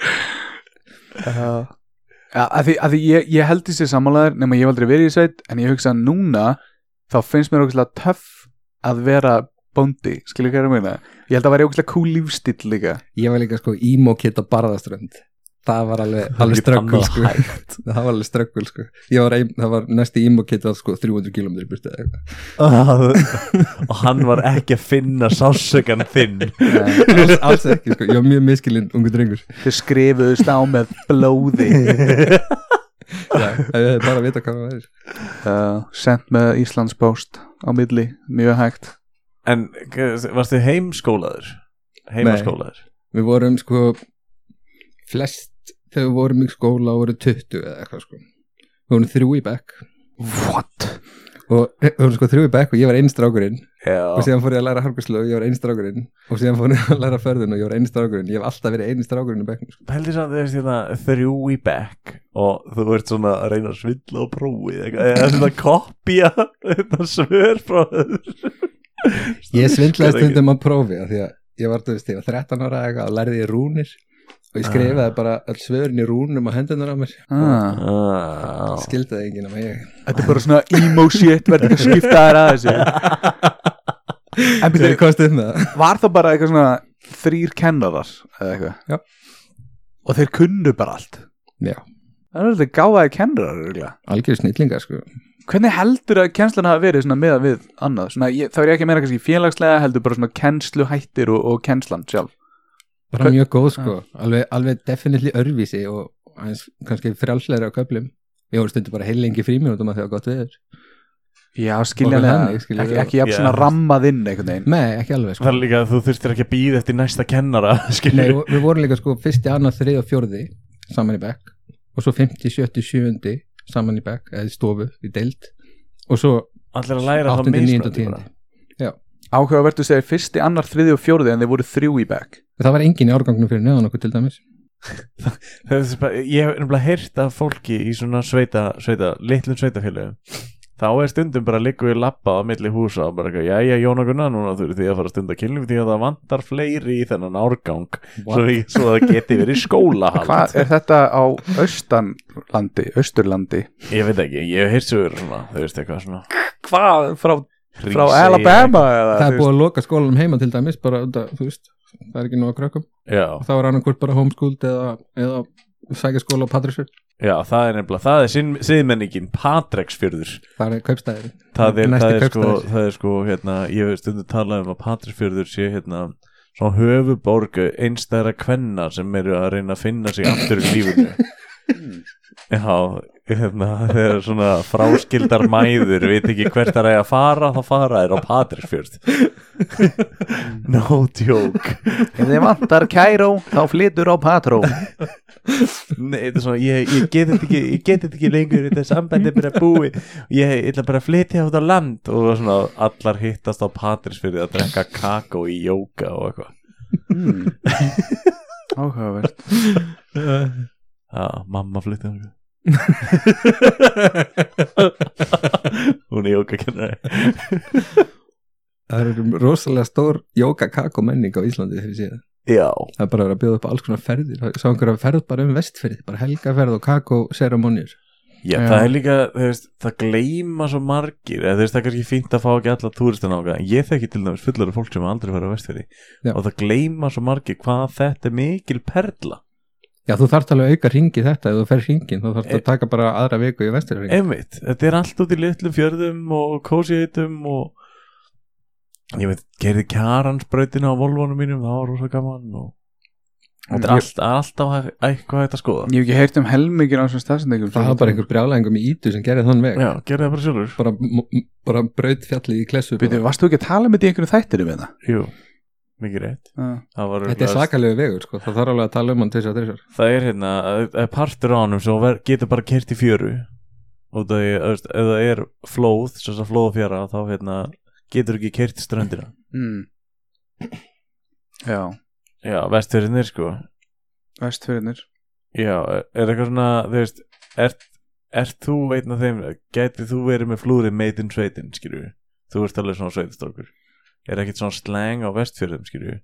Speaker 3: Já, að því, að því ég, ég held þessi samanlegar nema ég hef aldrei verið í sveit en ég hugsa að núna þá finnst mér ógæslega töff að vera bóndi, skilur hvað ég er að meina ég held að vera ógæslega cool lífstill líka
Speaker 2: ég var líka sko emo kid á barðaströnd það var alveg, alveg ströggul sko. það var alveg ströggul sko. Ég var ein, það var næsti emo kid var sko 300 km burtið
Speaker 1: Og hann var ekki að finna sásökan þinn
Speaker 2: alls, alls ekki, sko. ég var mjög miskilinn ungu drengur
Speaker 3: þau skrifuðust á með blóði
Speaker 2: já, ef ég hefði bara vita hvað það væri
Speaker 3: uh, sent með Íslands post á milli, mjög hægt
Speaker 1: En varstu heimskólaður? Heimaskólaður?
Speaker 2: við vorum sko flest þegar við vorum í skóla voru 20 eða eitthvað sko við vorum þrjú í bekk
Speaker 3: What?
Speaker 2: og við vorum sko þrjú í bekk og ég var einn strákurinn og
Speaker 4: Já,
Speaker 2: síðan fór ég að læra harkurslu og ég var einn strákurinn og síðan fór ég að læra förðun og ég var einn strákurinn ég hef alltaf verið einn strákurinn í bekknum sko.
Speaker 1: Pældi samt þegar þetta þrjú í bekk og þú ert svona að reyna að svindla á prófið eitthvað, eða svona að kopja þetta svör frá öðru
Speaker 2: ég svindlaði stundum að prófi af því að ég var, þú veist, ég var 13 ára eða eitthvað og lærði ég rúnir og ég skrifaði bara all svörin í rúnum á hendunar á mér
Speaker 3: Ah.
Speaker 1: ah,
Speaker 2: og
Speaker 1: skil...
Speaker 2: skildaði enginn um að ég
Speaker 3: Þetta er bara svona emo shit verður ekki að skipta þær að þessu En
Speaker 2: þeir
Speaker 3: byrju,
Speaker 2: kostið með það
Speaker 3: var það bara eitthvað svona þrýr kennarar eða eitthvað
Speaker 2: Já.
Speaker 3: Og þeir kunnu bara allt
Speaker 2: Já.
Speaker 3: Það er alltaf gáðaði kennarar örugglega.
Speaker 2: algjör snillingar sko
Speaker 3: Hvernig heldur að kennslan hafa verið svona meða við annað? Svona, ég, þá er ég ekki að meina kannski félagslega heldur bara svona kennsluhættir og, og kennslan sjálf
Speaker 2: bara mjög góð sko, alveg, alveg definitely örvísi og aðeins kannski frjálsleira á köflum ég voru stundu bara heilengi frímjóðum að því að gott veður
Speaker 3: Já,
Speaker 2: skiljanlega. Ekki-
Speaker 3: skiljanlega, ekki, ekki jafn svona
Speaker 1: Já.
Speaker 3: rammað inn einhvern veginn
Speaker 2: nei, ekki alveg
Speaker 1: Það
Speaker 2: sko
Speaker 1: er líka að þú þurftir ekki að býða eftir næsta kennara
Speaker 2: nei,
Speaker 1: skilur
Speaker 2: og við vorum líka sko fyrsti, annar, þrið og fjórði saman í bekk og svo 50, 70, 70 saman í bekk eða í stofu, í deild og svo
Speaker 1: Allir að læra
Speaker 2: 8,
Speaker 1: það
Speaker 2: 9 og
Speaker 1: mismunandi
Speaker 2: 10
Speaker 1: bara.
Speaker 3: Áhugavert þú segir fyrsti, annar, þriði og fjóruði en þeir voru þrjú í back
Speaker 2: það var engin í árgangnum fyrir neðan okkur til dæmis
Speaker 1: Það er þessi bara- Ég hef nefnilega heyrt af fólki í svona sveita, sveita litlum sveitafélögum þá er stundum bara að liggu í lappa á milli húsa og bara eitthvað, jæja Jóna Gunnar núna þurfið þið að fara að stunda kynlíf því að það vantar fleiri í þennan árgang svo, við, svo það geti verið skólahald
Speaker 3: Hvað er þetta á austanlandi, austurlandi?
Speaker 1: Ég veit ekki, ég hef heyrt sögur svona, þú veist eitthvað svona
Speaker 3: Hvað, frá, frá
Speaker 1: Hringsey-
Speaker 3: Alabama eða?
Speaker 2: það
Speaker 3: þú
Speaker 2: er búið að loka skólanum heima til dæmis bara, út af, þú veist, það er ekki nóg að krökkum
Speaker 1: Já,
Speaker 2: og það var annarkvort bara homeschooled eða, eða sækja skóla á Patrísur
Speaker 1: já, það er nefnilega, það er sinn- siðmenningin Patreksfjörður
Speaker 2: það er kaupstæðir
Speaker 1: það er,
Speaker 2: Næsti
Speaker 1: það er sko,
Speaker 2: kaupstaður.
Speaker 1: það er sko hérna, ég hef stundum talað um að Patreksfjörður sé hérna svona höfuborg einstæðra kvenna sem eru að reyna að finna sig aftur í lífinu Já, hérna, þegar svona fráskildar mæður veit ekki hvert það er að fara þá fara þær á Patreksfjörð No joke
Speaker 4: ef þið vantar kæró, þá flytur á patró
Speaker 1: Nei, þetta er svona, ég, ég get þetta ekki, ég get þetta ekki lengur, þetta sambandi er bara búið Ég ég ætla bara að flytja út á land og svona allar hittast á Patrísfyrði að drekka kakó í jóka og eitthvað
Speaker 3: veist? Hmm. Áhugavert
Speaker 1: Eh. Já, mamma flytja hann Hún er jóka
Speaker 2: Það eru rosalega stór jóka kakó menning á Íslandi þegar við séð.
Speaker 1: Já
Speaker 2: Það er bara verið að bjóða upp á alls konar ferðir. Það sá einhverja ferð bara um vestferði, bara helgaferð og kakó seremonjur.
Speaker 1: Já,
Speaker 3: Já.
Speaker 1: það er líka, þú veist, það gleyma svo margir, eða þú veist, það er kannski fínt að fá ekki alla túristin ákveða, en ég þekki til dæmis fullari fólk sem aldrei fara á vestfyrir
Speaker 2: Já.
Speaker 1: og það gleyma svo margir hvað þetta er mikil perla
Speaker 2: Já, þú þarft alveg að auka ringi þetta ef þú fer ringin, þú þarft
Speaker 1: Eh.
Speaker 2: að taka bara aðra viku í vestferði.
Speaker 1: Einmitt, þetta er allt út í litlum fjörðum og kósiðitum og ég veit, gerði kjaransbrautina á volvónum mínum, það var rosa gaman og þetta er allt, alltaf hæ- eitthvað hægt að skoða
Speaker 3: Ég hef ekki heyrt um helmingin á þessum stafsendingum
Speaker 2: Það var bara einhver brjálæðingum í Ítu sem gerði þann veg.
Speaker 1: Já, gerði það bara sjálfur
Speaker 2: Bara, m- m- bara braut fjallið í klessu.
Speaker 3: Býtu,
Speaker 2: bara.
Speaker 3: varstu ekki að tala með því einhverju þættir um þetta?
Speaker 1: Jú, mikið rétt
Speaker 3: Uh.
Speaker 1: Það, var
Speaker 2: Þetta er
Speaker 1: örugglega-
Speaker 2: svakalegu vegur, sko. Það þarf alveg að tala um hann til þess að þessar.
Speaker 1: það er hérna, það er partur á honum sem ver- getur bara kert í fjöru og það er, þú veist, ef það er flóð, sem það flóðfjara, þá hérna getur ekki kert í ströndina
Speaker 3: Mm. Já,
Speaker 1: Já, vestfjörðinir sko
Speaker 3: vestfyrirnir
Speaker 1: Já, e, er eitthvað svona, þú veist, ert, ert þú einn af þeim, gæti þú verið með flúrið made in sveitin, skilju? Þú ert alveg svona sveitastrákur. Er ekkert svona slang á vestfjörðum, skilju?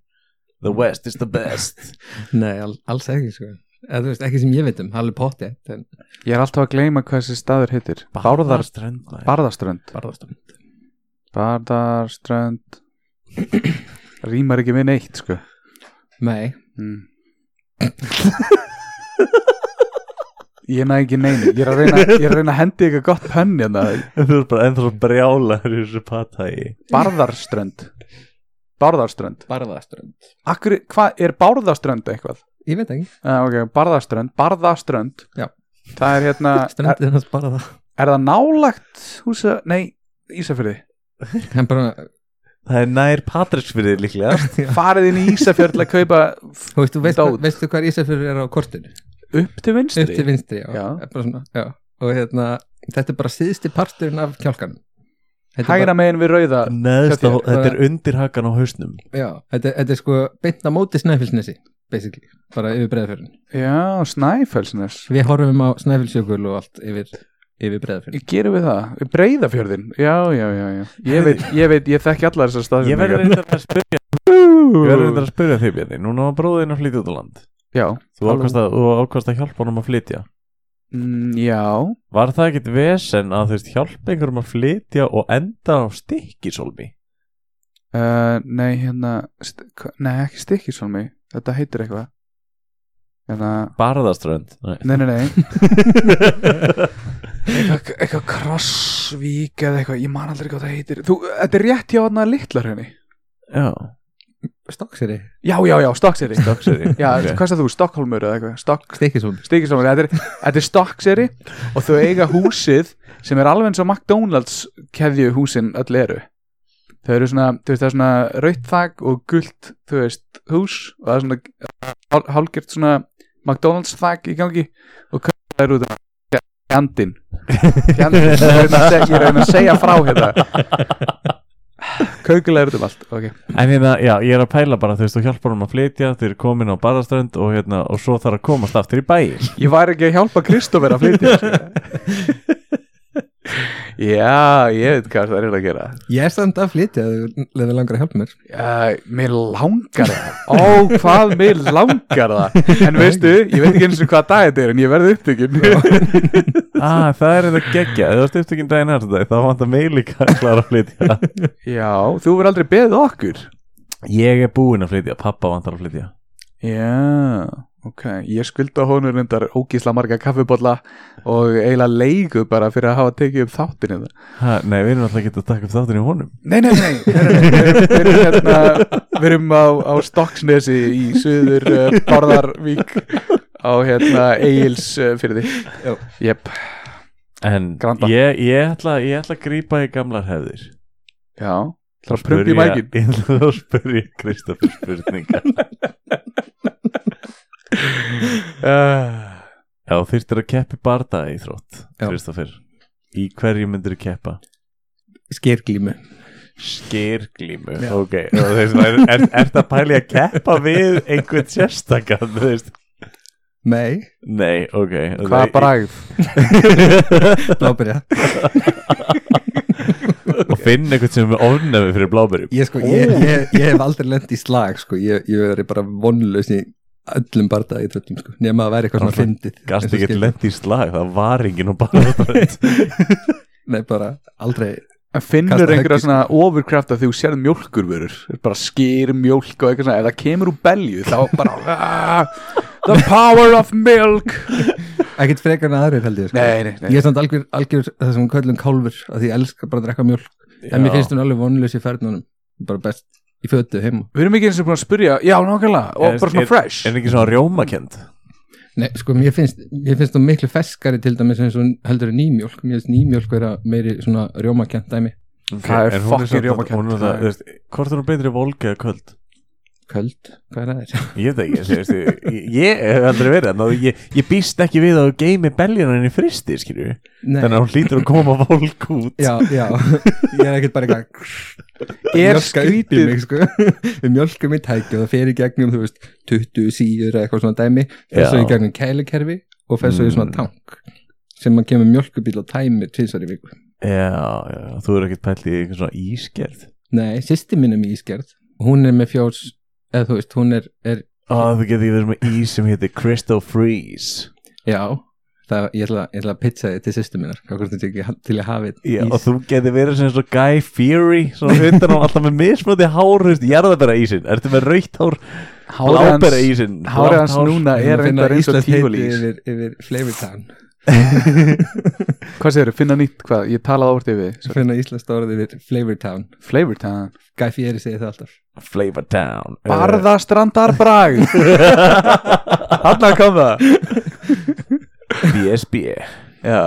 Speaker 1: The west is the best.
Speaker 2: Nei, al- alls ekki, sko. Eða, þú veist, ekki sem ég veit um, það er alveg pottið, en
Speaker 3: Ég er alltaf að gleyma hvað þessi staður heitir Bárðar,
Speaker 1: strönd, maður.
Speaker 3: Barðarströnd
Speaker 2: barðastum.
Speaker 3: Barðarströnd Rýmar ekki við neitt sko
Speaker 2: Nei,
Speaker 3: mm. Ég næ ekki neinu Ég er að reyna, ég er að, reyna að hendi eitthvað gott pönn hérna.
Speaker 1: Þú ert bara ennþá svo brjálaður í þessu patægi.
Speaker 3: Barðarströnd Barðarströnd
Speaker 2: barðastum.
Speaker 3: Akkur, Hvað er Barðarströnd eitthvað?
Speaker 2: Ég veit ekki,
Speaker 3: Uh, okay, Barðarströnd, Barðarströnd
Speaker 2: Já.
Speaker 3: Það er hérna er,
Speaker 2: strendið hans bara
Speaker 3: er það nálagt húsa, Nei, Ísafjörði
Speaker 2: En bara,
Speaker 1: Það er nær patræksfyrir líklega.
Speaker 3: farið inn í Ísafjörð til að kaupa f-
Speaker 2: þú veist, þú veist,
Speaker 3: Dót.
Speaker 2: hvað- veistu hvað Ísafjörður er á kortinu?
Speaker 3: upp til vinstri
Speaker 2: Upp til vinstri, já,
Speaker 3: Já.
Speaker 2: Bara svona, já. Og hérna, þetta er bara síðusti parturinn af kjálkanum Þetta er
Speaker 3: hægra megin við rauða
Speaker 1: Neðst á,
Speaker 3: Hjá
Speaker 2: þér,
Speaker 1: þetta er undir hakan á hausnum
Speaker 2: bara- Já, þetta, þetta er sko beint á móti snæfilsnesi basically, bara yfir breðafjörðin
Speaker 3: já, snæfellsnes
Speaker 2: Við horfum á snæfilsjökul og allt yfir, yfir breðafjörðin
Speaker 3: gerum við það, breyðafjörðin já, já, já, já, ég veit, ég veit ég þekki allar þessar staðsendingar
Speaker 1: Ég verður reyndar að spyrja Ég verður reyndar að spyrja þig Bjarni Núna var bróðin að flytja út á land
Speaker 3: já,
Speaker 1: Þú
Speaker 3: Halló.
Speaker 1: ákvast að, þú ákvaðst að hjálpa honum að flytja
Speaker 3: Mm, já,
Speaker 1: Var það ekkit vesen að þú veist hjálpa einhverjum að flytja og enda á stikkisólmi?
Speaker 3: Uh, nei, hérna st- hva- Nei, ekki stikkisólmi Þetta heitir eitthvað hérna,
Speaker 1: Barðaströnd Nei.
Speaker 3: Nei, nei, nei Eitthvað, eitthvað krossvík eða eitthvað, ég man aldrei hvað það heitir Þú, þetta er rétt hjá hann að litlar henni
Speaker 1: Já,
Speaker 2: Stokkseri,
Speaker 3: Já, já, já, Stokkseri
Speaker 1: dokkseri
Speaker 3: Já, hvað sagði þú, Stokkholmur eða eitthvað Stokk,
Speaker 2: stikkisúl
Speaker 3: Stikkisólmi, þetta er, þetta er Stokkseri og þau eiga húsið sem er alveg eins og McDonalds keðju húsin öll eru Þau eru svona, þú veist, það er svona rautt þak og gult, þú veist, hús og það er svona hál- hálfgert svona McDonalds þak í gangi og hvað er út af fjandinn fjandinn, ég reyna að seg- ég reyna að segja frá hérna kaukulega er út um allt ok,
Speaker 1: En hérna, já, ég er að pæla bara, þú veist, þú hjálpar honum að flytja, þeir eru komin á barðaströnd og hérna, og svo þarf að komast aftur í bæin.
Speaker 3: ég var ekki að hjálpa Kristófer að flytja sko. já, ég veit hvað það er eiginlega að gera
Speaker 2: Ég er samt að flytja leður langar að hjálpa mér
Speaker 3: Uh, mér langar það Ó, hvað mér langar það En veistu, ég veit ekki eins og hvað dag þetta er En ég verði upptökin
Speaker 1: Ah, það er þetta geggja, ef þú varst upptökinn daginn hans dag, þá vant að meili kallar að flytja.
Speaker 3: Já, þú verður aldrei beðið okkur
Speaker 1: Ég er búinn að flytja, pappa vantar að flytja.
Speaker 3: Já, ok Ég skulda honur reyndar ógísla marga kaffibólla Og eiginlega leigu bara fyrir að hafa tekið upp hérna. þáttinu
Speaker 1: Ha, nei, við erum alltaf ekki að taka upp þáttin í honum.
Speaker 3: Nei, nei, nei, nei, nei, nei. Við, erum, við, erum hérna, við erum á, á Stokksnesi í suður uh, Barðarvík Á hérna Egils uh, fyrir því Jep,
Speaker 1: En
Speaker 3: Granda.
Speaker 1: ég, ég, ætla, ég ætla að grípa í gamlar hefðir.
Speaker 3: já Það er prumpi í mækin
Speaker 1: Ég ætla að spyrja Kristoffer spurningar.
Speaker 3: Uh,
Speaker 1: Já, þú þyrftir að keppi bardaði í þrótt,
Speaker 2: Já.
Speaker 1: Kristoffer. Í hverju myndir keppa?
Speaker 2: Skirglímu
Speaker 1: skirglímu ok, og þú veist, er, er, er það pæli að keppa við einhvern sérstakann, þú veist
Speaker 2: Nei,
Speaker 1: nei, ok
Speaker 3: Hvaða bragð?
Speaker 2: blábyrja
Speaker 1: og finna einhvern sem er ofnæmi fyrir bláberjum
Speaker 2: Ég, sko, ég, ég, ég hef aldrei lent í slag sko. ég, ég er bara vonlaus í öllum bardaði í þvöldum sko. nema að vera eitthvað svona
Speaker 1: Alltaf
Speaker 2: fyndið
Speaker 1: gast
Speaker 2: eins og
Speaker 1: ekki
Speaker 2: skilur.
Speaker 1: lent í slag, það var enginn og bara
Speaker 2: Nei, bara aldrei
Speaker 3: En finnur
Speaker 2: Kasta
Speaker 3: einhverja
Speaker 2: höggi,
Speaker 3: svona ofurkraft að þú sérð mjólkurvörur bara skýr mjólk og eitthvað svona ef það kemur úr belju þá bara "Ah, The power of milk
Speaker 2: ekkert frekar en aðrir held ég sko.
Speaker 3: Nei, nei, nei.
Speaker 2: Ég er samt algjör, algjör það sem köllum kálfur að því ég elska bara að drekka mjólk en mér finnst hún alveg vonlaus í fernunum bara best í fötu heima
Speaker 3: Við erum ekki eins og búin að spyrja Já, nákvæmlega, og
Speaker 1: Er-
Speaker 3: bara svona
Speaker 1: er-
Speaker 3: fresh
Speaker 1: en ekki svona rjómakend
Speaker 2: Nei, sko, mér finnst, mér finnst það miklu feskari til dæmis eins og heldur en nýmjólk mér finnst nýmjólk vera meiri svona rjómakent dæmi
Speaker 3: Það er
Speaker 1: En hún
Speaker 3: fucking
Speaker 1: samt-
Speaker 3: rjómakennd.
Speaker 1: hún er það, þú veist, hvort er hún betri volga eða köld
Speaker 2: köld, hvað er það?
Speaker 1: ég veit ekki, þú veist, ég, ég hef aldrei verið þarna og ég, ég býst ekki við að þú geimi beljunan í fristi, skilju
Speaker 2: Nei,
Speaker 1: þannig að hún hlýtur að koma volg út
Speaker 2: já, já ég er ekkert bara eitthvað
Speaker 3: Er
Speaker 2: mjólka upp í
Speaker 3: skrítið
Speaker 2: mig, sko. við mjölkum í tæki og það fer í gegnum þú veist, 20 síður eða eitthvað svona dæmi fer svo
Speaker 1: Já.
Speaker 2: í gegnum kælukerfi og fer svo í
Speaker 1: Mm.
Speaker 2: svona tank sem maður kemur mjölkubíl og tæmir tvisar í viku
Speaker 1: Já, já, þú er ekkert pælt í einhvern svona ískerð
Speaker 2: nei, sýsti minn er mjög ískerð hún er með fjós, eða þú veist, hún er, er
Speaker 1: Ó, þú getur ekki verið með ís sem heitir Crystal Freeze
Speaker 2: já, það, ég, ætla, ég ætla að pitcha þið til sýsti minnar hvort þetta ekki til að hafi
Speaker 1: já, og þú getur verið sem svo Guy Fury svona hundan og alltaf með mismöndi hár þú veist, jarðabera ísinn, ertu með rautt hár blábera ísinn
Speaker 3: Hárið hans núna
Speaker 2: Ég
Speaker 3: er
Speaker 2: finna
Speaker 3: reyndar eins og
Speaker 2: íslenskt heiti
Speaker 3: tífulís
Speaker 2: yfir, yfir flavortown
Speaker 3: Hvað segirðu, finna nýtt, hvað, ég talaði ávert yfir
Speaker 2: Svo finna íslenskt orðið yfir flavortown
Speaker 3: Flavortown
Speaker 2: Guy Fieri segir það alltaf
Speaker 1: Flavor Town
Speaker 3: Eh. Barðastrandarbrag Hanna kom það
Speaker 1: BSB
Speaker 3: Já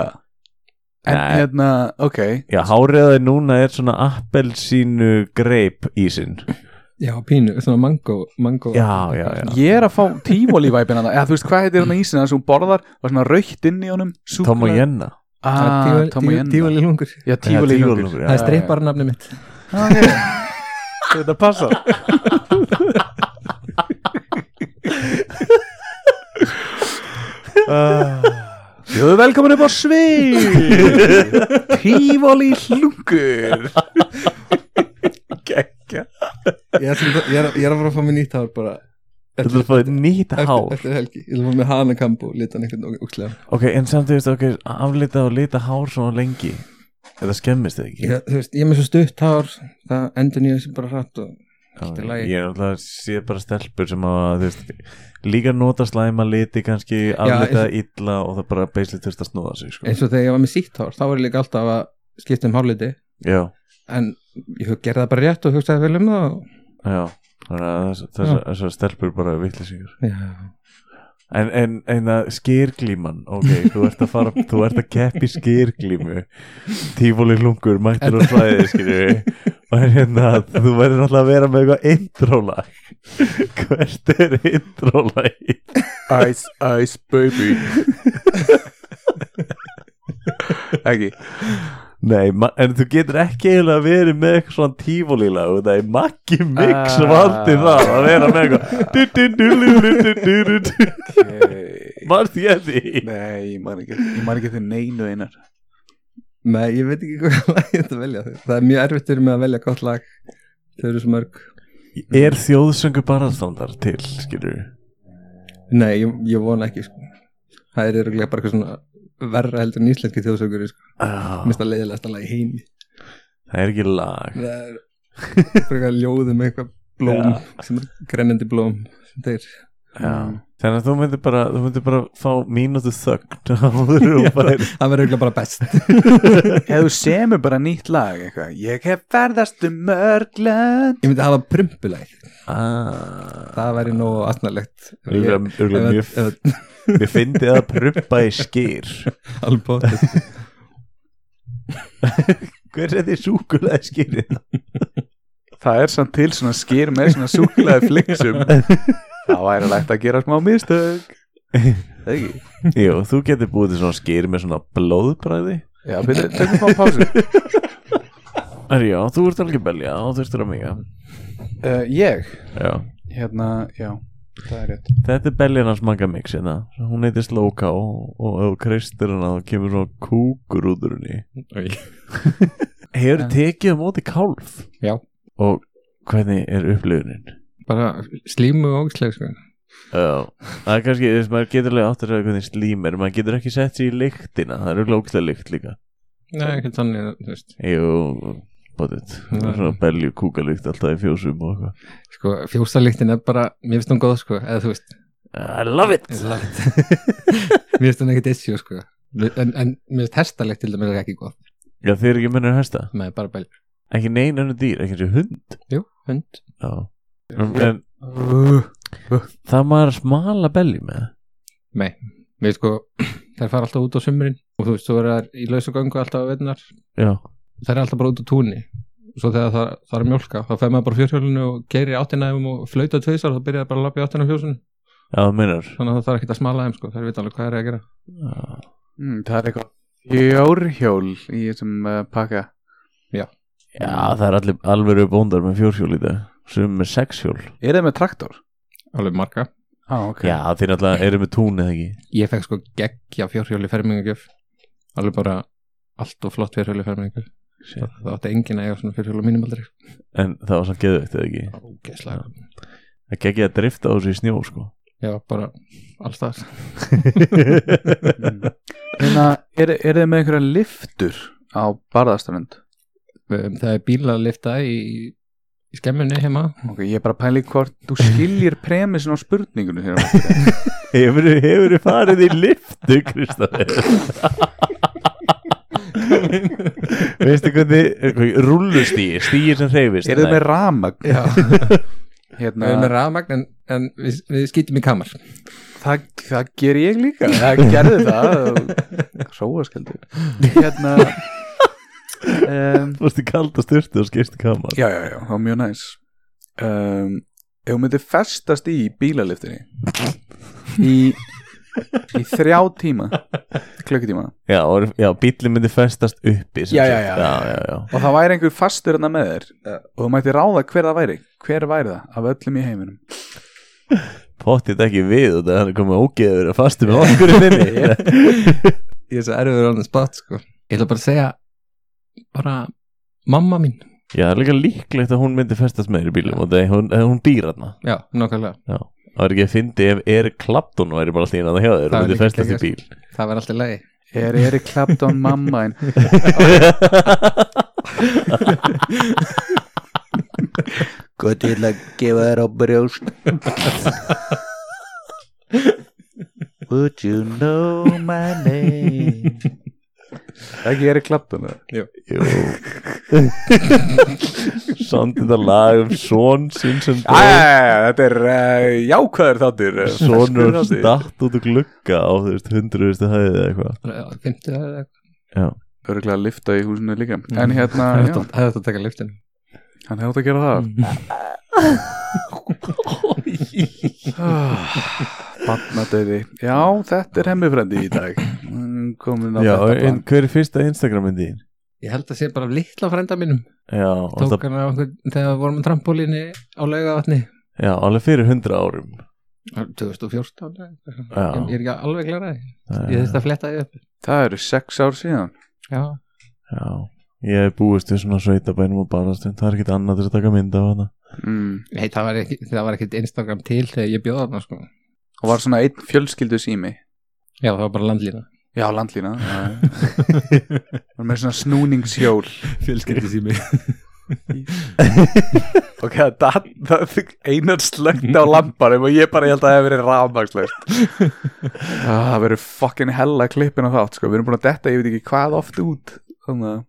Speaker 3: En
Speaker 1: Nei.
Speaker 3: hérna, ok
Speaker 1: Já, háriðaði núna er svona appelsínu greip ísinn
Speaker 2: já, pínu, svona mango, mango
Speaker 1: Já, já, já
Speaker 3: Ég er að fá tímólívæpin hann Eða þú veist hvað heitir hann að ísina sem hún borðar og svona raukt inn í honum súkkulaði.
Speaker 1: Tom og Jenna
Speaker 3: Ah, Tom og Jenna
Speaker 2: Tífali lungur
Speaker 3: Já, Ah, tífali
Speaker 1: Já,
Speaker 3: lungur
Speaker 1: tígulungur, já.
Speaker 2: Það er streypar nafni mitt
Speaker 3: Þetta passar
Speaker 4: Jöðu velkomin upp á svið Tífóli hlungur
Speaker 2: Ég ætlum að- ég er ég er að fara að fá mér nýtt hár bara
Speaker 1: Þú ætlar að fá þér nýtt
Speaker 2: eftir,
Speaker 1: hár
Speaker 2: eftir helgi Ég ætlum að fá mér hana kambu litan einhvern ókslega
Speaker 1: Ok, en samt þú veist okkur aflitað og lita hár svona lengi Þetta skemmist þið ekki
Speaker 2: Ég, þú veist, ég er með svo stutt hár það endur nýja sem bara hratt og allt í
Speaker 1: Já,
Speaker 2: lagi.
Speaker 1: Ég er alltaf að sé bara stelpur sem að þú veist, líka nota slæma liti kannski aflitað illa og það bara beislið þurft að snúða sig sko.
Speaker 2: eins og þegar ég var með sítt hár þá var ég líka alltaf að skipta um hárliti
Speaker 1: Já,
Speaker 2: en ég hug- gerði það bara rétt og hugsaði vel um það og...
Speaker 1: já Þannig að þess- þessar þessar stelpur bara vittlisingur
Speaker 2: já,
Speaker 1: En, en, en að skýrglíman Ok, þú ert að fara Þú ert að keppi skýrglímu Tífóli lungur, mættur og svæði skilju Og er hérna Þú verður alltaf að vera með eitthvað intrólag Hvert er intrólag?
Speaker 3: Ice, ice baby Ekki
Speaker 1: Nei, ma- en þú getur ekki eiginlega verið með eitthvað svona tífólílag Það er makki mix
Speaker 3: Ah.
Speaker 1: sem valdi það að vera með eitthvað Du- du- du- lu- lu- du- du- du- du.
Speaker 3: okay.
Speaker 1: Varst ég því?
Speaker 3: Eh, Nei, ég man ekki Ég man ekki þau neinu einar
Speaker 2: Nei, ég veit ekki hvað lag ég ætla að velja það er mjög erfitt fyrir mig að velja gott lag þau eru svo mörg
Speaker 1: Er þjóðsöngu barastandar til, skilur við?
Speaker 2: nei, ég, ég vona ekki sko. það eru örugglega bara eitthvað svona verra heldur en íslenski þjóðsökur sko.
Speaker 1: Ah,
Speaker 2: mista leiðilegasta lag í heimi
Speaker 1: það er ekki lag
Speaker 2: það er frekar ljóð um eitthvað blóm sem er grennandi blóm sem þeir
Speaker 1: Já. Þannig að þú myndir bara, þú myndir bara fá mínútu þögn áður og bara
Speaker 2: það verður örugglega bara best
Speaker 3: Ef þú semur bara nýtt lag eitthvað Ég hef ferðast um mörgland
Speaker 2: ég myndi hafa prumpulæð
Speaker 1: ah,
Speaker 2: það væri nógu aðnalegt
Speaker 1: Örgulega örgulega mjög Mér fyndi það að prumpa í skýr
Speaker 2: Albótt
Speaker 1: Hver er því súkulega skýrið?
Speaker 3: Það er samt til svona skýr með svona súklaði fliksum Það væri lægt að gera smá mistök Það ekki
Speaker 1: Jú, þú getur búið til svona skýr með svona blóðbræði
Speaker 3: Já, byrju, tökum smá pásu
Speaker 1: Er já, þú ert alveg belja og þú ert að mega
Speaker 3: uh, Ég,
Speaker 1: Já
Speaker 3: hérna, já Það er rétt
Speaker 1: Þetta er beljan hans manga mix hérna Hún heitir Slóká og og ef þú kreistir hana þá kemur svona kúkur út úr henni Hefur tekið á móti kálf?
Speaker 2: Já.
Speaker 1: Og hvernig er upplifunin?
Speaker 2: Bara slímu og ógislega sko.
Speaker 1: Já Það er kannski, þess maður getur alveg áttur að hvernig slím er Maður getur ekki sett sér í lyktina Það eru glókslega lykt líka
Speaker 2: Nei, ekki þannig þú veist.
Speaker 1: Jú, bóttið
Speaker 2: Nei.
Speaker 1: Svona belju kúkalykt alltaf í fjósum og eitthvað
Speaker 2: sko, Fjósalíktin er bara Mér finnst hún góð sko, eða þú veist
Speaker 1: I love it
Speaker 2: Mér finnst hún ekkit issue sko En, en mér finnst hestalíkt til dæmis ekki góð
Speaker 1: Já, þeir eru ekki mennur hesta
Speaker 2: Með bara bæl
Speaker 1: Ekki nein önnu dýr, ekki eins og hund
Speaker 2: Jú, hund Uh.
Speaker 1: Já En, en það maður smala belli með
Speaker 2: Nei, mér finnst sko Þær fara alltaf út á sumrin Og þú veist, þú verður í lausugöngu alltaf á veitnar
Speaker 1: Já
Speaker 2: Þær er alltaf bara út á túnni Svo þegar það, það er mjólka, þá fer maður bara fjórhjólinu og gerir áttinæðum og flauta tveisar og það byrjaði bara að lappa í áttinæðum fjósunum
Speaker 1: Já, það meinar
Speaker 2: þannig að það þarf ekki að smala þeim sko, þær vita alveg hvað er að gera
Speaker 1: Já.
Speaker 3: mm, Það er eitthvað Fjórhjól í þessum uh, pakka
Speaker 1: Já, það er allir alveg bóndar með fjórhjól í dag Sum með sexhjól
Speaker 3: Er það með traktor?
Speaker 2: alveg marga.
Speaker 3: Á, ah, ok
Speaker 1: Já, þeir alltaf eru með tún eða ekki
Speaker 2: Ég fekk sko geggja fjórhjóli fermingagjöf alveg bara allt og flott fjórhjóli fermingagjöf
Speaker 1: Shit.
Speaker 2: það, það átti engin að eiga svona fjórhjóla mínum aldrei
Speaker 1: En það var samt geðvægt eða ekki
Speaker 2: Ógeðslega.
Speaker 1: Það gekk ég að drifta á þessu í snjó sko
Speaker 2: Já, bara alls þar
Speaker 3: Hérna, er, er það með einhverja liftur á barðastarönd?
Speaker 2: um, Það er bílalifta í, í skemmunni heima
Speaker 3: Ok, ég er bara að pæli hvort þú skiljir premissin á spurningunum þér
Speaker 1: Hefur þið farið í liftu, Kristoffer? Veistu hvernig Rúllustýr, stýr sem hreyfist
Speaker 3: Er það með ramagn?
Speaker 2: Já, við erum með
Speaker 3: Hérna,
Speaker 2: rafmagn en, en við, við skýtum í kamar
Speaker 3: það, það ger ég líka Það gerði það Sóaskeldur Hérna um,
Speaker 1: Þú varstu kald og styrtu og skipst kamar
Speaker 3: Já, já, já, það var mjög næs um, Ef hún myndi festast í bílaliftinni Í í þrjá tíma klukkutíma
Speaker 1: Já, og- já bíllinn myndi festast uppi sem
Speaker 3: Já, já,
Speaker 1: sagt.
Speaker 3: já.
Speaker 1: já, já, já.
Speaker 3: og það væri einhver fastur hérna með þér og þú mætti ráða hver það væri hver væri það af öllum í heiminum
Speaker 1: Pottið ekki við og það er komið ógeður að fastu með okkur inni
Speaker 2: ég er svo erfiður á hann spott sko. ég ætla bara að segja bara mamma mín
Speaker 1: Já, það er líka líklegt að hún myndi festast með þér í bílum og það er hún, eh, hún býr þarna
Speaker 2: já, nákvæmlega,
Speaker 1: Það er ekki að fyndi ef Erik Clapton væri bara alltaf inn að það hjá þér og
Speaker 2: Það er
Speaker 1: myndi
Speaker 2: líka
Speaker 1: festast í
Speaker 2: geggjað.
Speaker 1: bíl
Speaker 2: það verður alltaf leiði
Speaker 3: er Erik Clapton mamma en
Speaker 4: Gott ég ætla að gefa þér á brjóst Would you know my name
Speaker 3: ekki Erik Clapton eða?
Speaker 1: Samt þetta lag um són sinn sem
Speaker 3: Æ, þetta er uh, jákvæður þáttir eh,
Speaker 1: Sónur
Speaker 3: ferskur þáttur.
Speaker 1: statt út og glugga á þú veist hundruðustu hæðið eða eitthvað
Speaker 2: fimmtu, það er
Speaker 3: Örugglega lyfta í húsinu líka
Speaker 2: Mm.
Speaker 3: En hérna, já,
Speaker 2: þetta það er þetta að taka lyftinu
Speaker 3: hann hefði átt að gera það Bannadauði Ah, Já, þetta er hemmifrændi í dag Mm, Komin á
Speaker 1: Já,
Speaker 3: þetta
Speaker 1: en
Speaker 3: plan
Speaker 1: hver er fyrsta Instagram myndi þín?
Speaker 2: ég held að sé bara af litla frænda mínum
Speaker 1: Já, og
Speaker 2: tók
Speaker 1: það,
Speaker 2: hann af okkur þegar við vorum á trampolíni á laugavatni
Speaker 1: já, alveg fyrir hundra árum
Speaker 2: 2014 eða eitthvað.
Speaker 1: Já.
Speaker 2: ég, ég er ekki alveg klarað
Speaker 1: Það
Speaker 2: ég
Speaker 1: er-
Speaker 2: þurfti að fletta því upp
Speaker 3: Það eru sex ár síðan
Speaker 2: já,
Speaker 1: Já, ég hef búist við svona sveitabænum og barastund, það er ekkert annað til að taka mynd af hana
Speaker 3: mm.
Speaker 2: Nei, það var ekki- það var ekkert Instagram til þegar ég bjóða þarna sko.
Speaker 3: Og var svona einn fjölskyldu sími
Speaker 2: já, það var bara landlína
Speaker 3: Já, landlína já, já. Var með svona snúningshjól
Speaker 5: fjölskyldi sími
Speaker 3: Ok, það, það einar slögt á lampanum Og ég bara ég held að það hef verið rafmagslegt Það verður fucking hella klippin á þátt sko. Við erum búin að detta, ég veit ekki hvað oft út Þannig að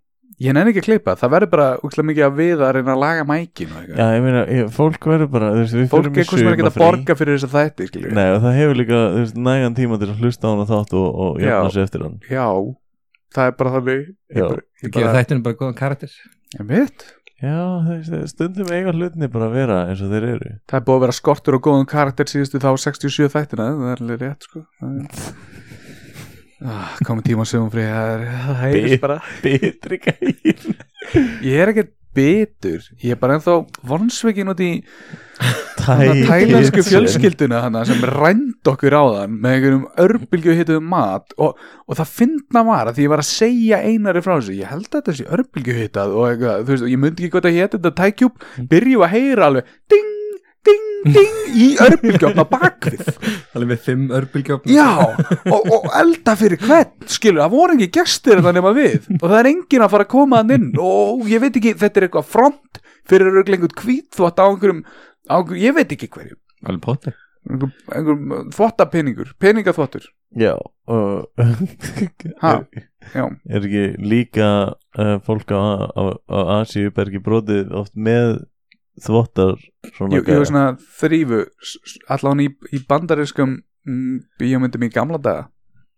Speaker 3: Ég nenni ekki að klippa, það verður bara úkslega mikið að við að reyna að laga mækin og eitthvað
Speaker 1: Já, ég meina, ég, fólk verður bara, þú veist, við
Speaker 3: Fólk
Speaker 1: förum í
Speaker 3: er eitthvað sem er ekki að
Speaker 1: sumarfrí.
Speaker 3: borga fyrir þess að þætti skilur.
Speaker 1: Nei, og það hefur líka, þú veist, nægan tíma til að hlusta á hana þátt og, og jafna
Speaker 3: Já.
Speaker 1: sig eftir hann
Speaker 3: Já, það er bara þannig Ég
Speaker 1: Já.
Speaker 3: bara- ég
Speaker 2: ég gera
Speaker 3: bara-
Speaker 2: þættinu bara góðan karakter
Speaker 3: Ég veit.
Speaker 1: Já, þú veist, stundum eiga hlutinni bara að vera eins og þeir eru
Speaker 3: Það er búið að vera skortur og góðum karakter síðustu þá 67 þættina Það er alveg rétt sko Það er- Ah, Komið tíma sögum frí Það er- það heyrist
Speaker 1: Bit.
Speaker 3: bara
Speaker 1: Bitri gæðin
Speaker 3: Ég er ekkert bitur Ég er bara ennþá vonsveikin út í
Speaker 1: Tæ,
Speaker 3: tælansku fjölskylduna hana sem rænd okkur á þann með einhverjum örbylgju hituðum mat og, og það fyndna var að því ég var að segja einari frá þessu, ég held að þetta sé örbylgju hitað og eitthvað, þú veist, og ég myndi ekki hvað það hétt þetta tækjúb, byrju að heyra alveg ding, ding, ding í örbylgjöfna bakvið
Speaker 5: alveg með fimm örbylgjöfn
Speaker 3: já, og, og elda fyrir hvern skilur, það voru ekki gestir þetta nema við og það er enginn að fara að koma hann inn og ég veit ekki, þetta er eitthvað front fyrir einhvern hvítþvott á einhverjum á einhverjum, ég veit ekki hverju
Speaker 2: alveg potti
Speaker 3: einhver, einhver uh, þvottapeningur peningaþvottur
Speaker 1: Já, og
Speaker 3: Ha,
Speaker 1: er,
Speaker 3: já.
Speaker 1: er ekki líka uh, fólk á, á, á Asíu bergi brotið oft með þvottar svona
Speaker 3: ég, ég var svona þrýfu allan í, í bandariskum mm, bíómyndum í gamla daga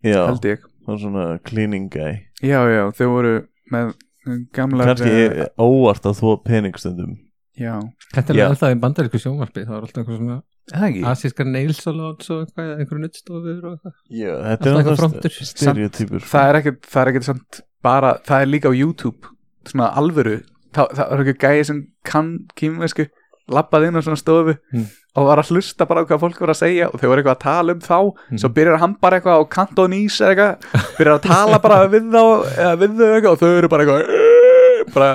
Speaker 1: já,
Speaker 3: held ég
Speaker 1: og svona cleaning guy
Speaker 3: já já þau voru með mm, gamlar
Speaker 1: kannski
Speaker 3: eh,
Speaker 1: er óvart að þvó peningstundum
Speaker 3: já
Speaker 2: Þetta
Speaker 1: Já.
Speaker 2: er alltaf í bandarísku sjónvarpi, það er alltaf eitthvað svona
Speaker 3: það ekki
Speaker 2: asískar neilsalons og eitthvað, eða einhverju nuttstofur og eitthvað.
Speaker 1: já,
Speaker 2: Alltaf
Speaker 1: þetta
Speaker 2: eitthvað
Speaker 1: er
Speaker 2: frontur.
Speaker 1: náttúrulega stereotypur
Speaker 3: það er ekkert það er ekkert samt bara það er líka á YouTube svona alvöru það, það er ekki gæði sem kann kýmvesku labbað inn á svona stofu
Speaker 1: Mm.
Speaker 3: og var að hlusta bara á hvað fólk var að segja og þau voru eitthvað að tala um þá svo byrjar hann bara eitthvað á kantonís eða eitthvað byrjar að tala bara við þá eða við þau eitthvað og þau eru bara eitthvað bara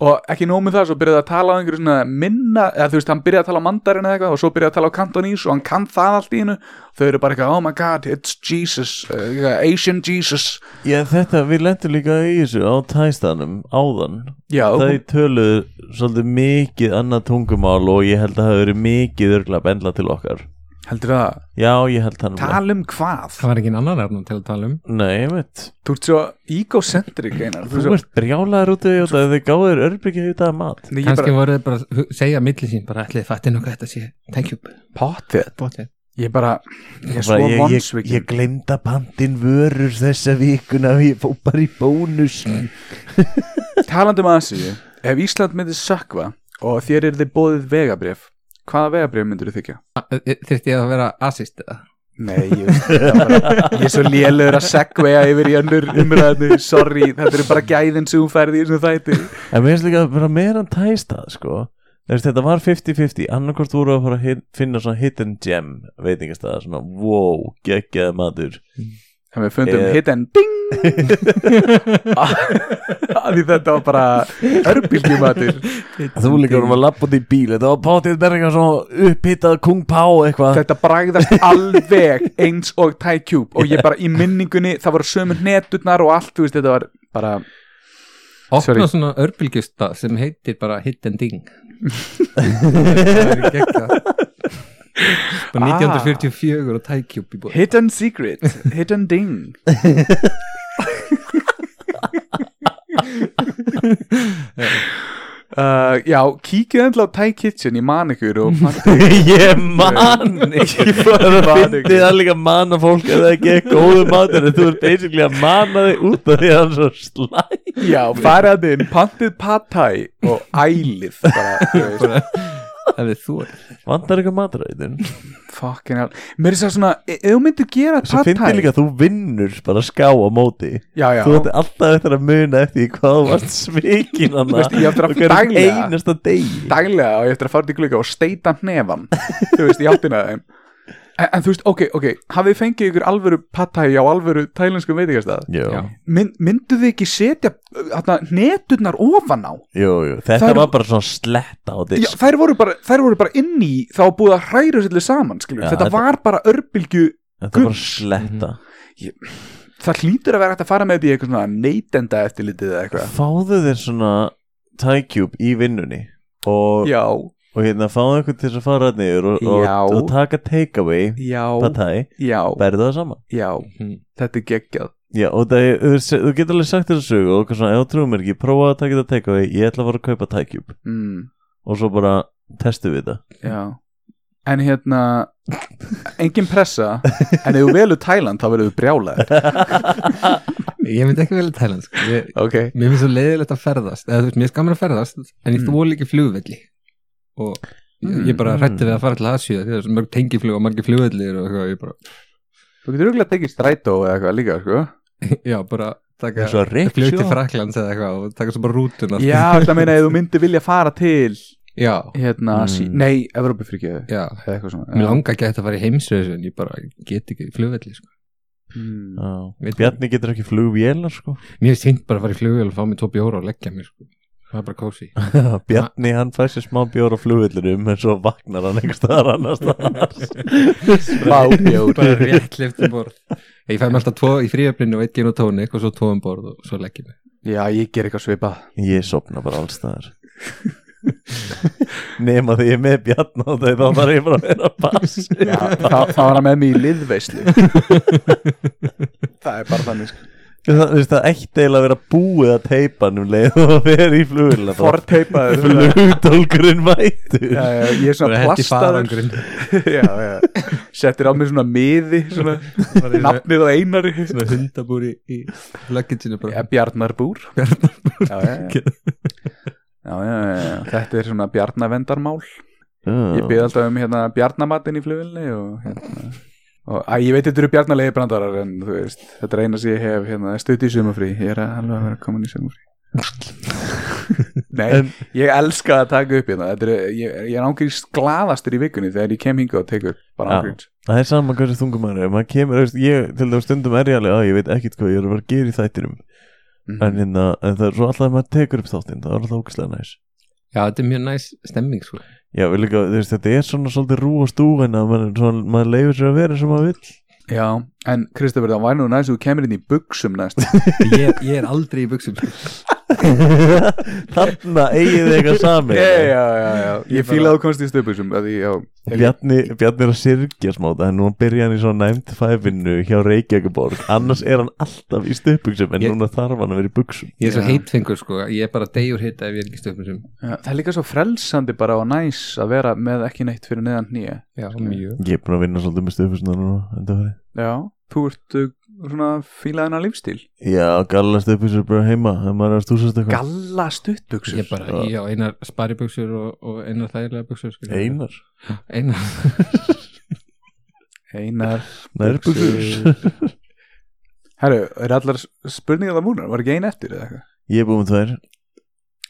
Speaker 3: og ekki nóg með það, svo byrjar það að tala á einhverju svona minna, eða þú veist, hann byrjar að tala á mandarin eða eitthvað og svo byrjar að tala á kantonís og hann kann það allt í hennu, þau eru bara eitthvað oh my god, it's Jesus, uh, Asian Jesus
Speaker 1: já, þetta, við lendum líka í þessu á tæstanum áðan
Speaker 3: já,
Speaker 1: þau töluðu svolítið mikið annað tungumál og ég held að það hafi verið mikið örgla bendla til okkar
Speaker 3: heldur það,
Speaker 1: já, ég held hann
Speaker 3: tala um hvað
Speaker 2: Það var engin annan efnum til að tala um.
Speaker 1: nei, ég veit
Speaker 3: þú ert svo egocentric einar, þú
Speaker 1: Þú
Speaker 3: ert svo
Speaker 1: ert brjálaður út af því að þau gáðu þér örbyggja í dag mat
Speaker 3: Nei, ég
Speaker 2: Kannski
Speaker 3: bara,
Speaker 2: voru þið bara að hu- segja milli sín, bara ætliði fætti nú hvað þetta sé. Thank you.
Speaker 3: potið
Speaker 2: Bótið.
Speaker 3: ég bara, ég er
Speaker 1: Bara,
Speaker 3: svo
Speaker 1: ég, ég,
Speaker 3: vonsvikin
Speaker 1: ég glemda pantin vörur þessa vikuna og ég fó bara í bónus
Speaker 3: Talandi um aðsíu, ef Ísland myndi sökva og
Speaker 2: e,
Speaker 3: þér er þið bóðið vegabrif, hvaða vegabrif myndir þið þykja?
Speaker 2: Þyrfti ég að vera asist eða?
Speaker 3: Nei, ég, það var bara, ég er svo lélegur að segveja yfir í önnur umræðinu Sorry, þetta eru bara gæðin sem hún færði í þessum þætti
Speaker 1: En mér finnst líka að vera meira en tæstað sko Þeir, þetta var 50-50, annarkort voru að fara að hit, finna svona hidden gem veitingastæða, svona wow, geggjaði matur
Speaker 3: En við fundum
Speaker 1: Eh.
Speaker 3: hit and ding Ah, Því þetta var bara örbílgjumatur
Speaker 1: Þú líka vorum að lappa út í bíl, þetta var pátið með eitthvað svona upphittað kung pá eitthvað
Speaker 3: Þetta bragðast alveg eins og Thai Cube Og ég bara í minningunni, það voru sömu neturnar og allt Þú veist, þetta var bara Sorry.
Speaker 2: opna svona örbylgjusta sem heitir bara Hit and Ding það er ekki ekki bara 1944 og tækjúb í búið
Speaker 3: Hidden secret, hidden ding uh, Já, kíkið endla á Thai Kitchen í man ykkur og
Speaker 1: Ég man
Speaker 3: Ég
Speaker 1: Það
Speaker 3: man
Speaker 1: finnst
Speaker 3: ekki.
Speaker 1: það líka að mana fólk ef það ekki er góðu matur en þú ert basically að mana þig út af því að það er svo slæm
Speaker 3: Já, faraðinn, pantið pad thai og ælið bara, þú veist,
Speaker 2: ef þið þú
Speaker 1: Vandar eitthvað maturæðin
Speaker 3: fucking hell Mér er það svona, e- ef þú myndir gera
Speaker 1: Svo
Speaker 3: pad
Speaker 1: finnst
Speaker 3: thai
Speaker 1: þið líka að þú vinnur bara ská á móti
Speaker 3: Já, já,
Speaker 1: Þú ætti alltaf eftir að muna eftir því hvað þú varst svikin
Speaker 3: Þú
Speaker 1: hana
Speaker 3: veist, ég á eftir að
Speaker 1: Og hverjum
Speaker 3: daglega.
Speaker 1: einasta degi
Speaker 3: daglega og ég eftir að fara til glugga og steita hnefan þú veist, ég áttina þeim en, en þú veist, ok, ok, hafið þið fengið ykkur alvöru pad thai á alvöru tælenskum veitingastað
Speaker 1: Jú,
Speaker 2: Já.
Speaker 3: Mynd, myndu þið ekki setja uh, þarna, neturnar ofan á
Speaker 1: jú, jú, þetta
Speaker 3: Það eru-
Speaker 1: var bara svona sletta á
Speaker 3: Já,
Speaker 1: disk
Speaker 3: þær, voru bara, þær voru bara inn í þá búið að hræra sérlega saman
Speaker 1: Já,
Speaker 3: skilur. þetta
Speaker 1: þetta-
Speaker 3: var bara örbylgju
Speaker 1: Þetta var bara sletta
Speaker 3: það hlýtur að vera hægt að fara með þetta í eitthvað svona neytenda eftirlitið eða eitthvað
Speaker 1: Fáðu þér svona tækjúb í vinnunni og,
Speaker 3: já,
Speaker 1: og hérna fáðu einhvern til þess að fara hann yfir og, og,
Speaker 3: Já.
Speaker 1: og taka takeaway
Speaker 3: já,
Speaker 1: Patæ,
Speaker 3: já,
Speaker 1: berðu það sama
Speaker 3: já
Speaker 2: Mhm.
Speaker 3: þetta er geggjað
Speaker 1: Já, og það, er- þú, veist, þú getur alveg sagt þér að sögu og eitthvað svona, ef þú trúum mér ekki, prófaðu að taka þetta takeaway ég ætla að fara að kaupa tækjúb
Speaker 3: mm,
Speaker 1: og svo bara testu við þetta
Speaker 3: já en hérna engin pressa, en ef þú velur Tæland þá verður þú brjálæður
Speaker 2: ég myndi ekki velja Thailand sko. Ég-
Speaker 3: ok,
Speaker 2: mér finnst svo leiðilegt að ferðast eða þú veist, mér finnst gaman að ferðast en ég
Speaker 3: Mm.
Speaker 2: þvó líka flugvelli og ég- ég bara
Speaker 1: Mm.
Speaker 2: hrætti við að fara til Asíu því það er svo mörg tengiflug og margir flugvellir og eitthvað, ég bara,
Speaker 3: þú getur auðvitað tekið strætó eða eitthvað líka sko.
Speaker 2: já, bara taka
Speaker 1: eins og
Speaker 2: flug til
Speaker 1: riksjó
Speaker 2: Fraklands eða eitthvað og taka svo bara rútuna
Speaker 3: já, þetta meina ef þú myndir vilja fara til
Speaker 2: já,
Speaker 3: hérna,
Speaker 1: Mm.
Speaker 3: sí, nei, Evrópi fyrir
Speaker 2: já
Speaker 3: eða eitthvað svona
Speaker 2: mér langa ekki að þetta fara í heimsveðis en ég bara get ekki flugvelli sko.
Speaker 3: mm.
Speaker 2: Veit-
Speaker 1: Bjarni getur ekki flugvélar sko
Speaker 2: mér finnst fint bara að fara í flugvél og fá mér tvo bjóra og leggja mér sko. það er bara kósi
Speaker 1: Bjarni hann fær sér smá bjór á flugvillinum en svo vagnar hann einhver staðar annars
Speaker 3: Smá bjór.
Speaker 2: bara rétt lift um borð ég fæ mér alltaf tvo í fríöfninu og eitt gin og tónik og svo tvo um borð og svo leggjum
Speaker 3: já, ég ger eitthvað svipað
Speaker 1: Ég sopna bara alls staðar Nema því ég er með Bjarni á þau þá þarf ég bara að vera að
Speaker 3: Já,
Speaker 1: passa
Speaker 3: það, það var hann með mér í liðveislu Það er bara þannig sko.
Speaker 1: Það, veist, það eitt eiginlega að vera búið að teipa hann um leið og að vera í flugvélina
Speaker 3: Forteipaður svona.
Speaker 1: Flugdólkurinn mætur
Speaker 3: Já, já, Ég er svona plastaður já, já. Settir á mig svona miði svona, Nafnið á einari
Speaker 2: svona hundabúri í leggjinsinu
Speaker 3: ja,
Speaker 2: bara
Speaker 3: Bjarnarbúr
Speaker 2: Bjarnar
Speaker 3: já, já, já. Já, já, já, já. Þetta er svona bjarnavendarmál Ég byrði alltaf um hérna bjarnamatinn í flugilni og, hérna. og að, ég veit þetta eru bjarnalegi brandarar en þú veist, þetta er eina sem ég hef hérna, stutt í sumafrí, ég er alveg að vera komin í sumafrí Nei,
Speaker 1: En-
Speaker 3: ég elska að taka upp hérna, þetta er, ég, ég er ángríns glaðastur í vikunni þegar ég kem hinga og tekur bara
Speaker 1: Já.
Speaker 3: ángríns
Speaker 1: Það er sama hversu þungum maður er Maður kemur, veist, ég til þess stundum er ég alveg að ég veit ekkit hvað ég er að vera að gera í þættinum en,
Speaker 3: Mhm.
Speaker 1: hérna, en það er svo alltaf að maður tekur upp þáttinn Það er alltaf ógæslega næs
Speaker 2: já, þetta er mjög næs stemming sko.
Speaker 1: Já, við líka, þú veist, þetta er svona svolítið rú og stúin að maður, svona, maður leifir sér að vera sem maður vill
Speaker 3: Já, en Kristofur, það var nú næst þú kemur inn í buksum næst
Speaker 2: ég, ég er aldrei í buksum sko.
Speaker 1: Þarna eigið þið eitthvað
Speaker 3: Já,
Speaker 1: sami
Speaker 3: já, já, já, ég fíla að þú komst í stöpuksum að því, já,
Speaker 1: Bjarni, Bjarni er að sirkja smáta en núna byrja hann í svona 9-5-inu hjá Reykjavíkuborg annars er hann alltaf í stöpugsum en
Speaker 2: Ég-
Speaker 1: núna þarf hann að vera í buksum
Speaker 2: ég er svo
Speaker 3: Já.
Speaker 2: heitfengur sko. ég er bara degjur hita ef ég er ekki stöfnum sem
Speaker 3: já, það er líka svo frelsandi bara og næs að vera með ekki neitt fyrir neðan nýja
Speaker 2: já, mjög
Speaker 1: Ég er búin að vinna svolítið með stöpusna núna undanfarið.
Speaker 3: Já, þú ert uh, svona fílaðina lífstíl
Speaker 1: Já, galla stöpusur bara heima ef maður er að stúsast eitthvað
Speaker 3: Galla stuttbuksur
Speaker 2: ég er bara, já, einar spari buksur og, og einar þægilega buksur sko.
Speaker 1: Einar
Speaker 2: einar
Speaker 3: Einar
Speaker 1: Nærbuxur
Speaker 3: Herru, er allar s- spurningar það múnar? Var ekki ein eftir eða eitthvað?
Speaker 1: Ég er búin með tvær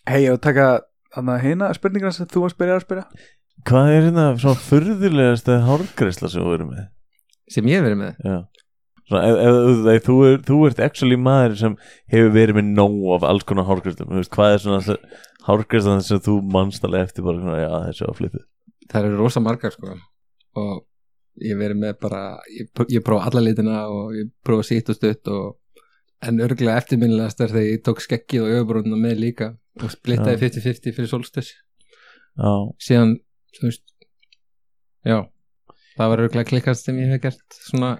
Speaker 3: Hei, ég var að taka hann að hina spurningar sem þú varst byrjað að spyrja
Speaker 1: Hvað er hérna svona furðulegasta hárgreisla sem þú verður með?
Speaker 2: sem ég hef verið með
Speaker 1: Já Svona, ef, ef, ef, ef þú, er, þú ert actually maður sem hefur verið með nóg af alls konar hárgreistum veist, Hvað er svona hárgreistan sem þú manst alveg eftir bara svona, já þessi var flipið
Speaker 2: það eru rosa margar sko og ég hef verið með bara ég, pr- ég prófa alla litina og ég prófa sítt og stutt og en örgulega eftirminnilegast er þegar ég tók skekkið og öfubrúnna með líka og splittaði
Speaker 1: Já.
Speaker 2: 50-50 fyrir solstöss
Speaker 1: Já,
Speaker 2: síðan, þú veist já, það var örgulega klikkast sem ég hef gert svona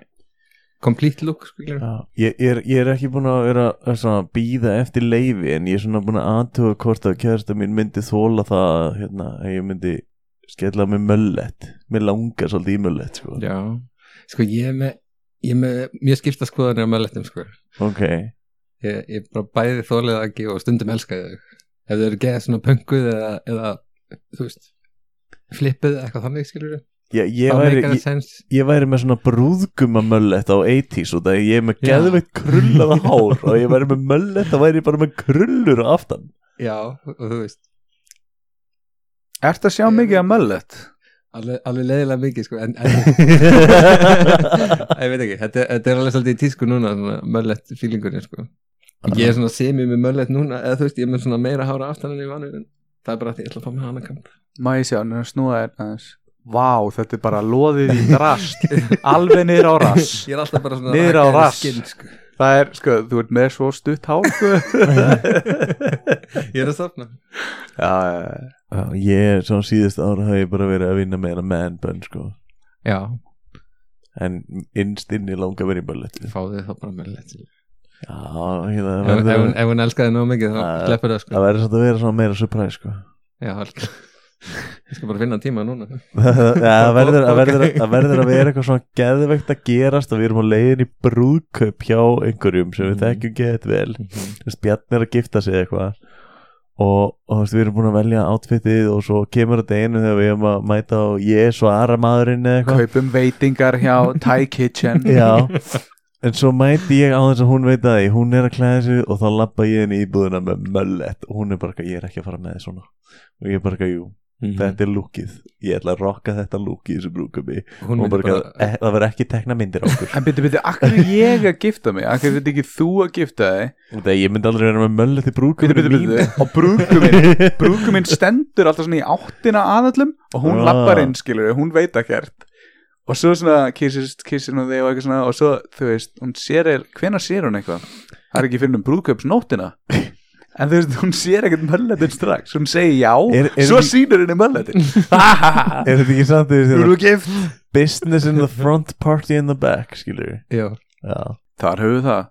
Speaker 2: complete look sko, skilurðu.
Speaker 1: já. Ég, ég, er, ég er ekki búin að vera að svona, býða eftir leifi en ég er svona búin að aðtuga hvort að kjærasta mín myndi þóla það hérna, að ég myndi skella með möllett Mér langar svolítið í möllett sko.
Speaker 2: já, sko ég er með ég er með mjög skipta skoðanir á möllektum sko
Speaker 1: Ok,
Speaker 2: ég, ég bara bæði þólið það ekki og stundum elskaði þau ef þau eru geðið svona pönguð eða, eða þú veist flippið eða eitthvað þannig skilur
Speaker 1: ég, ég,
Speaker 2: það
Speaker 1: væri, ég,
Speaker 2: meikar það sens
Speaker 1: ég væri með svona brúðguma möllet á 80s og það ég er með
Speaker 2: Já.
Speaker 1: geðveitt krullaða hár og ég væri með möllet og væri ég bara með krullur á aftan
Speaker 2: já, og þú veist,
Speaker 3: Ertu að sjá mikið að möllet?
Speaker 2: alveg, alveg leiðilega mikið sko, en, en ég veit ekki, þetta, þetta er alveg svolítið í tísku núna, svona möllett fílingurinn sko. ég er svona semi með möllett núna eða þú veist, ég er með svona meira hára aftan en ég vanur en það er bara að ég ætla að fá mig hana kamp
Speaker 3: Má ég sjá, hann snúa þér aðeins Vá, þetta er bara loðið í drast Alveg niður á rass
Speaker 2: ég er alltaf bara svona
Speaker 3: Niður á
Speaker 2: rakaður
Speaker 3: rass.
Speaker 2: skinn, sko.
Speaker 3: Það er, sko, þú ert með svo stutt hál sko.
Speaker 2: ég er að safna
Speaker 3: Já, já, já.
Speaker 1: Já, ég er svona síðust ára hafi ég bara verið að vinna meira man bun sko
Speaker 2: já,
Speaker 1: en innst inni langar verið í möllet
Speaker 2: fáðu það bara möllett
Speaker 1: Já, hérna það
Speaker 2: ef, ef,
Speaker 1: verður
Speaker 2: hún- ef hún elskaði nóg mikið þá
Speaker 1: Það-
Speaker 2: sleppur það sko
Speaker 1: það verður svolítið að vera svona meira surprise sko
Speaker 2: Já, algjör. ég skal bara finna tíma núna
Speaker 1: Já, Það verður, það
Speaker 2: Ok.
Speaker 1: verður, það verður að vera eitthvað svona geðveikt að gerast og við erum á leiðin í brúðkaup hjá einhverjum sem við
Speaker 2: Mhm.
Speaker 1: þekkjum geðið vel Þú veist, Bjarni er að gifta sig eitthvað og, og þú veist, við erum búin að velja outfitið og svo kemur þetta einu þegar við erum að mæta og ég er svo aðra maðurinn eða eitthvað
Speaker 3: Kaupum veitingar hjá Thai Kitchen
Speaker 1: Já, en svo mæti ég á þess að hún veit að því, hún er að klæða sig og þá lappa ég henni í íbúðuna með möllett og hún er bara, eitthvað, ég er ekki að fara með þig svona og ég er bara, eitthvað, jú,
Speaker 2: Mm.
Speaker 1: þetta er lúkið ég ætla að rokka þetta lúkið í þessu brúkubi
Speaker 2: hún
Speaker 1: og
Speaker 2: myndi
Speaker 1: bara,
Speaker 2: bara,
Speaker 1: bara e, það verður ekki tekna myndir á okkur
Speaker 3: En byrju, byrju, akkur er ég að gifta mig? Akkur er þetta ekki þú að gifta þig?
Speaker 1: og það ég myndi aldrei vera með möllu til
Speaker 3: Byrju,
Speaker 1: brúkubi
Speaker 3: byrju, byrju, og brúkuminn Brúkuminn stendur alltaf svona í áttina aðallum Og hún
Speaker 1: Ah.
Speaker 3: lappar inn, skilur hún veit ekkert Og svo svona kissist, kissir hún þig og eitthvað svona Og svo, þú veist, hún sér er, hvenær sér hún eitthvað? Það er ekki fyrir um brúkumsnóttina En þú veist, hún sér ekkert mölletin strax Hún segir já,
Speaker 1: Er- er-
Speaker 3: svo sýnur henni mölletin Þú
Speaker 1: er þetta ekki samt því
Speaker 3: eru
Speaker 1: að
Speaker 3: gift
Speaker 1: business in the front party in the back skilur
Speaker 2: já,
Speaker 1: já
Speaker 3: Þar höfum við það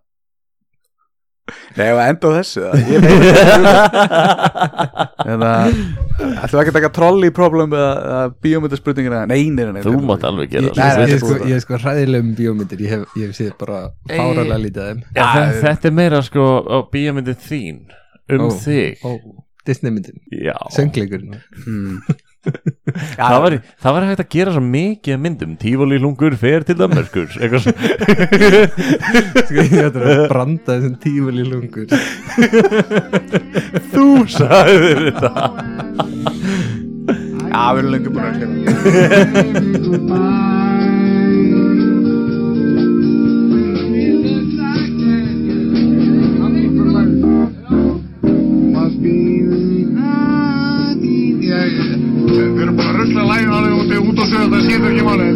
Speaker 3: Nei, ég var enda á þessu það Ég veit
Speaker 1: þú
Speaker 3: Eða, Hérna, ætlum við ekki að taka troll í problem eða, eða bíómyndaspurningina Nei, nei, nei, nei
Speaker 1: mátt alveg
Speaker 2: ég,
Speaker 1: gera
Speaker 2: ég,
Speaker 3: Nei,
Speaker 2: ég,
Speaker 3: nei,
Speaker 2: er sko, ég er sko hræðilegum bíómyndir ég hef, ég hef séð bara fáralega lítið af þeim
Speaker 1: Já, þe- þetta er meira sko á bíómyndið þín um
Speaker 2: Ó.
Speaker 1: þig
Speaker 2: Ó, Disney myndin,
Speaker 1: Já.
Speaker 2: söngleikurinn
Speaker 3: hmm. Já,
Speaker 1: Það var, það var hægt að gera svo mikið af myndum Tífóli lungur fer til Danmarkur eitthvað svo
Speaker 2: sko, ég ætla að branda þessum tífali lungur
Speaker 1: Þú sagðir þetta
Speaker 3: Já, við erum lengur búin að segja
Speaker 6: Við erum bara að rusla lægin alveg út, út á söðu, það skiptir ekki máli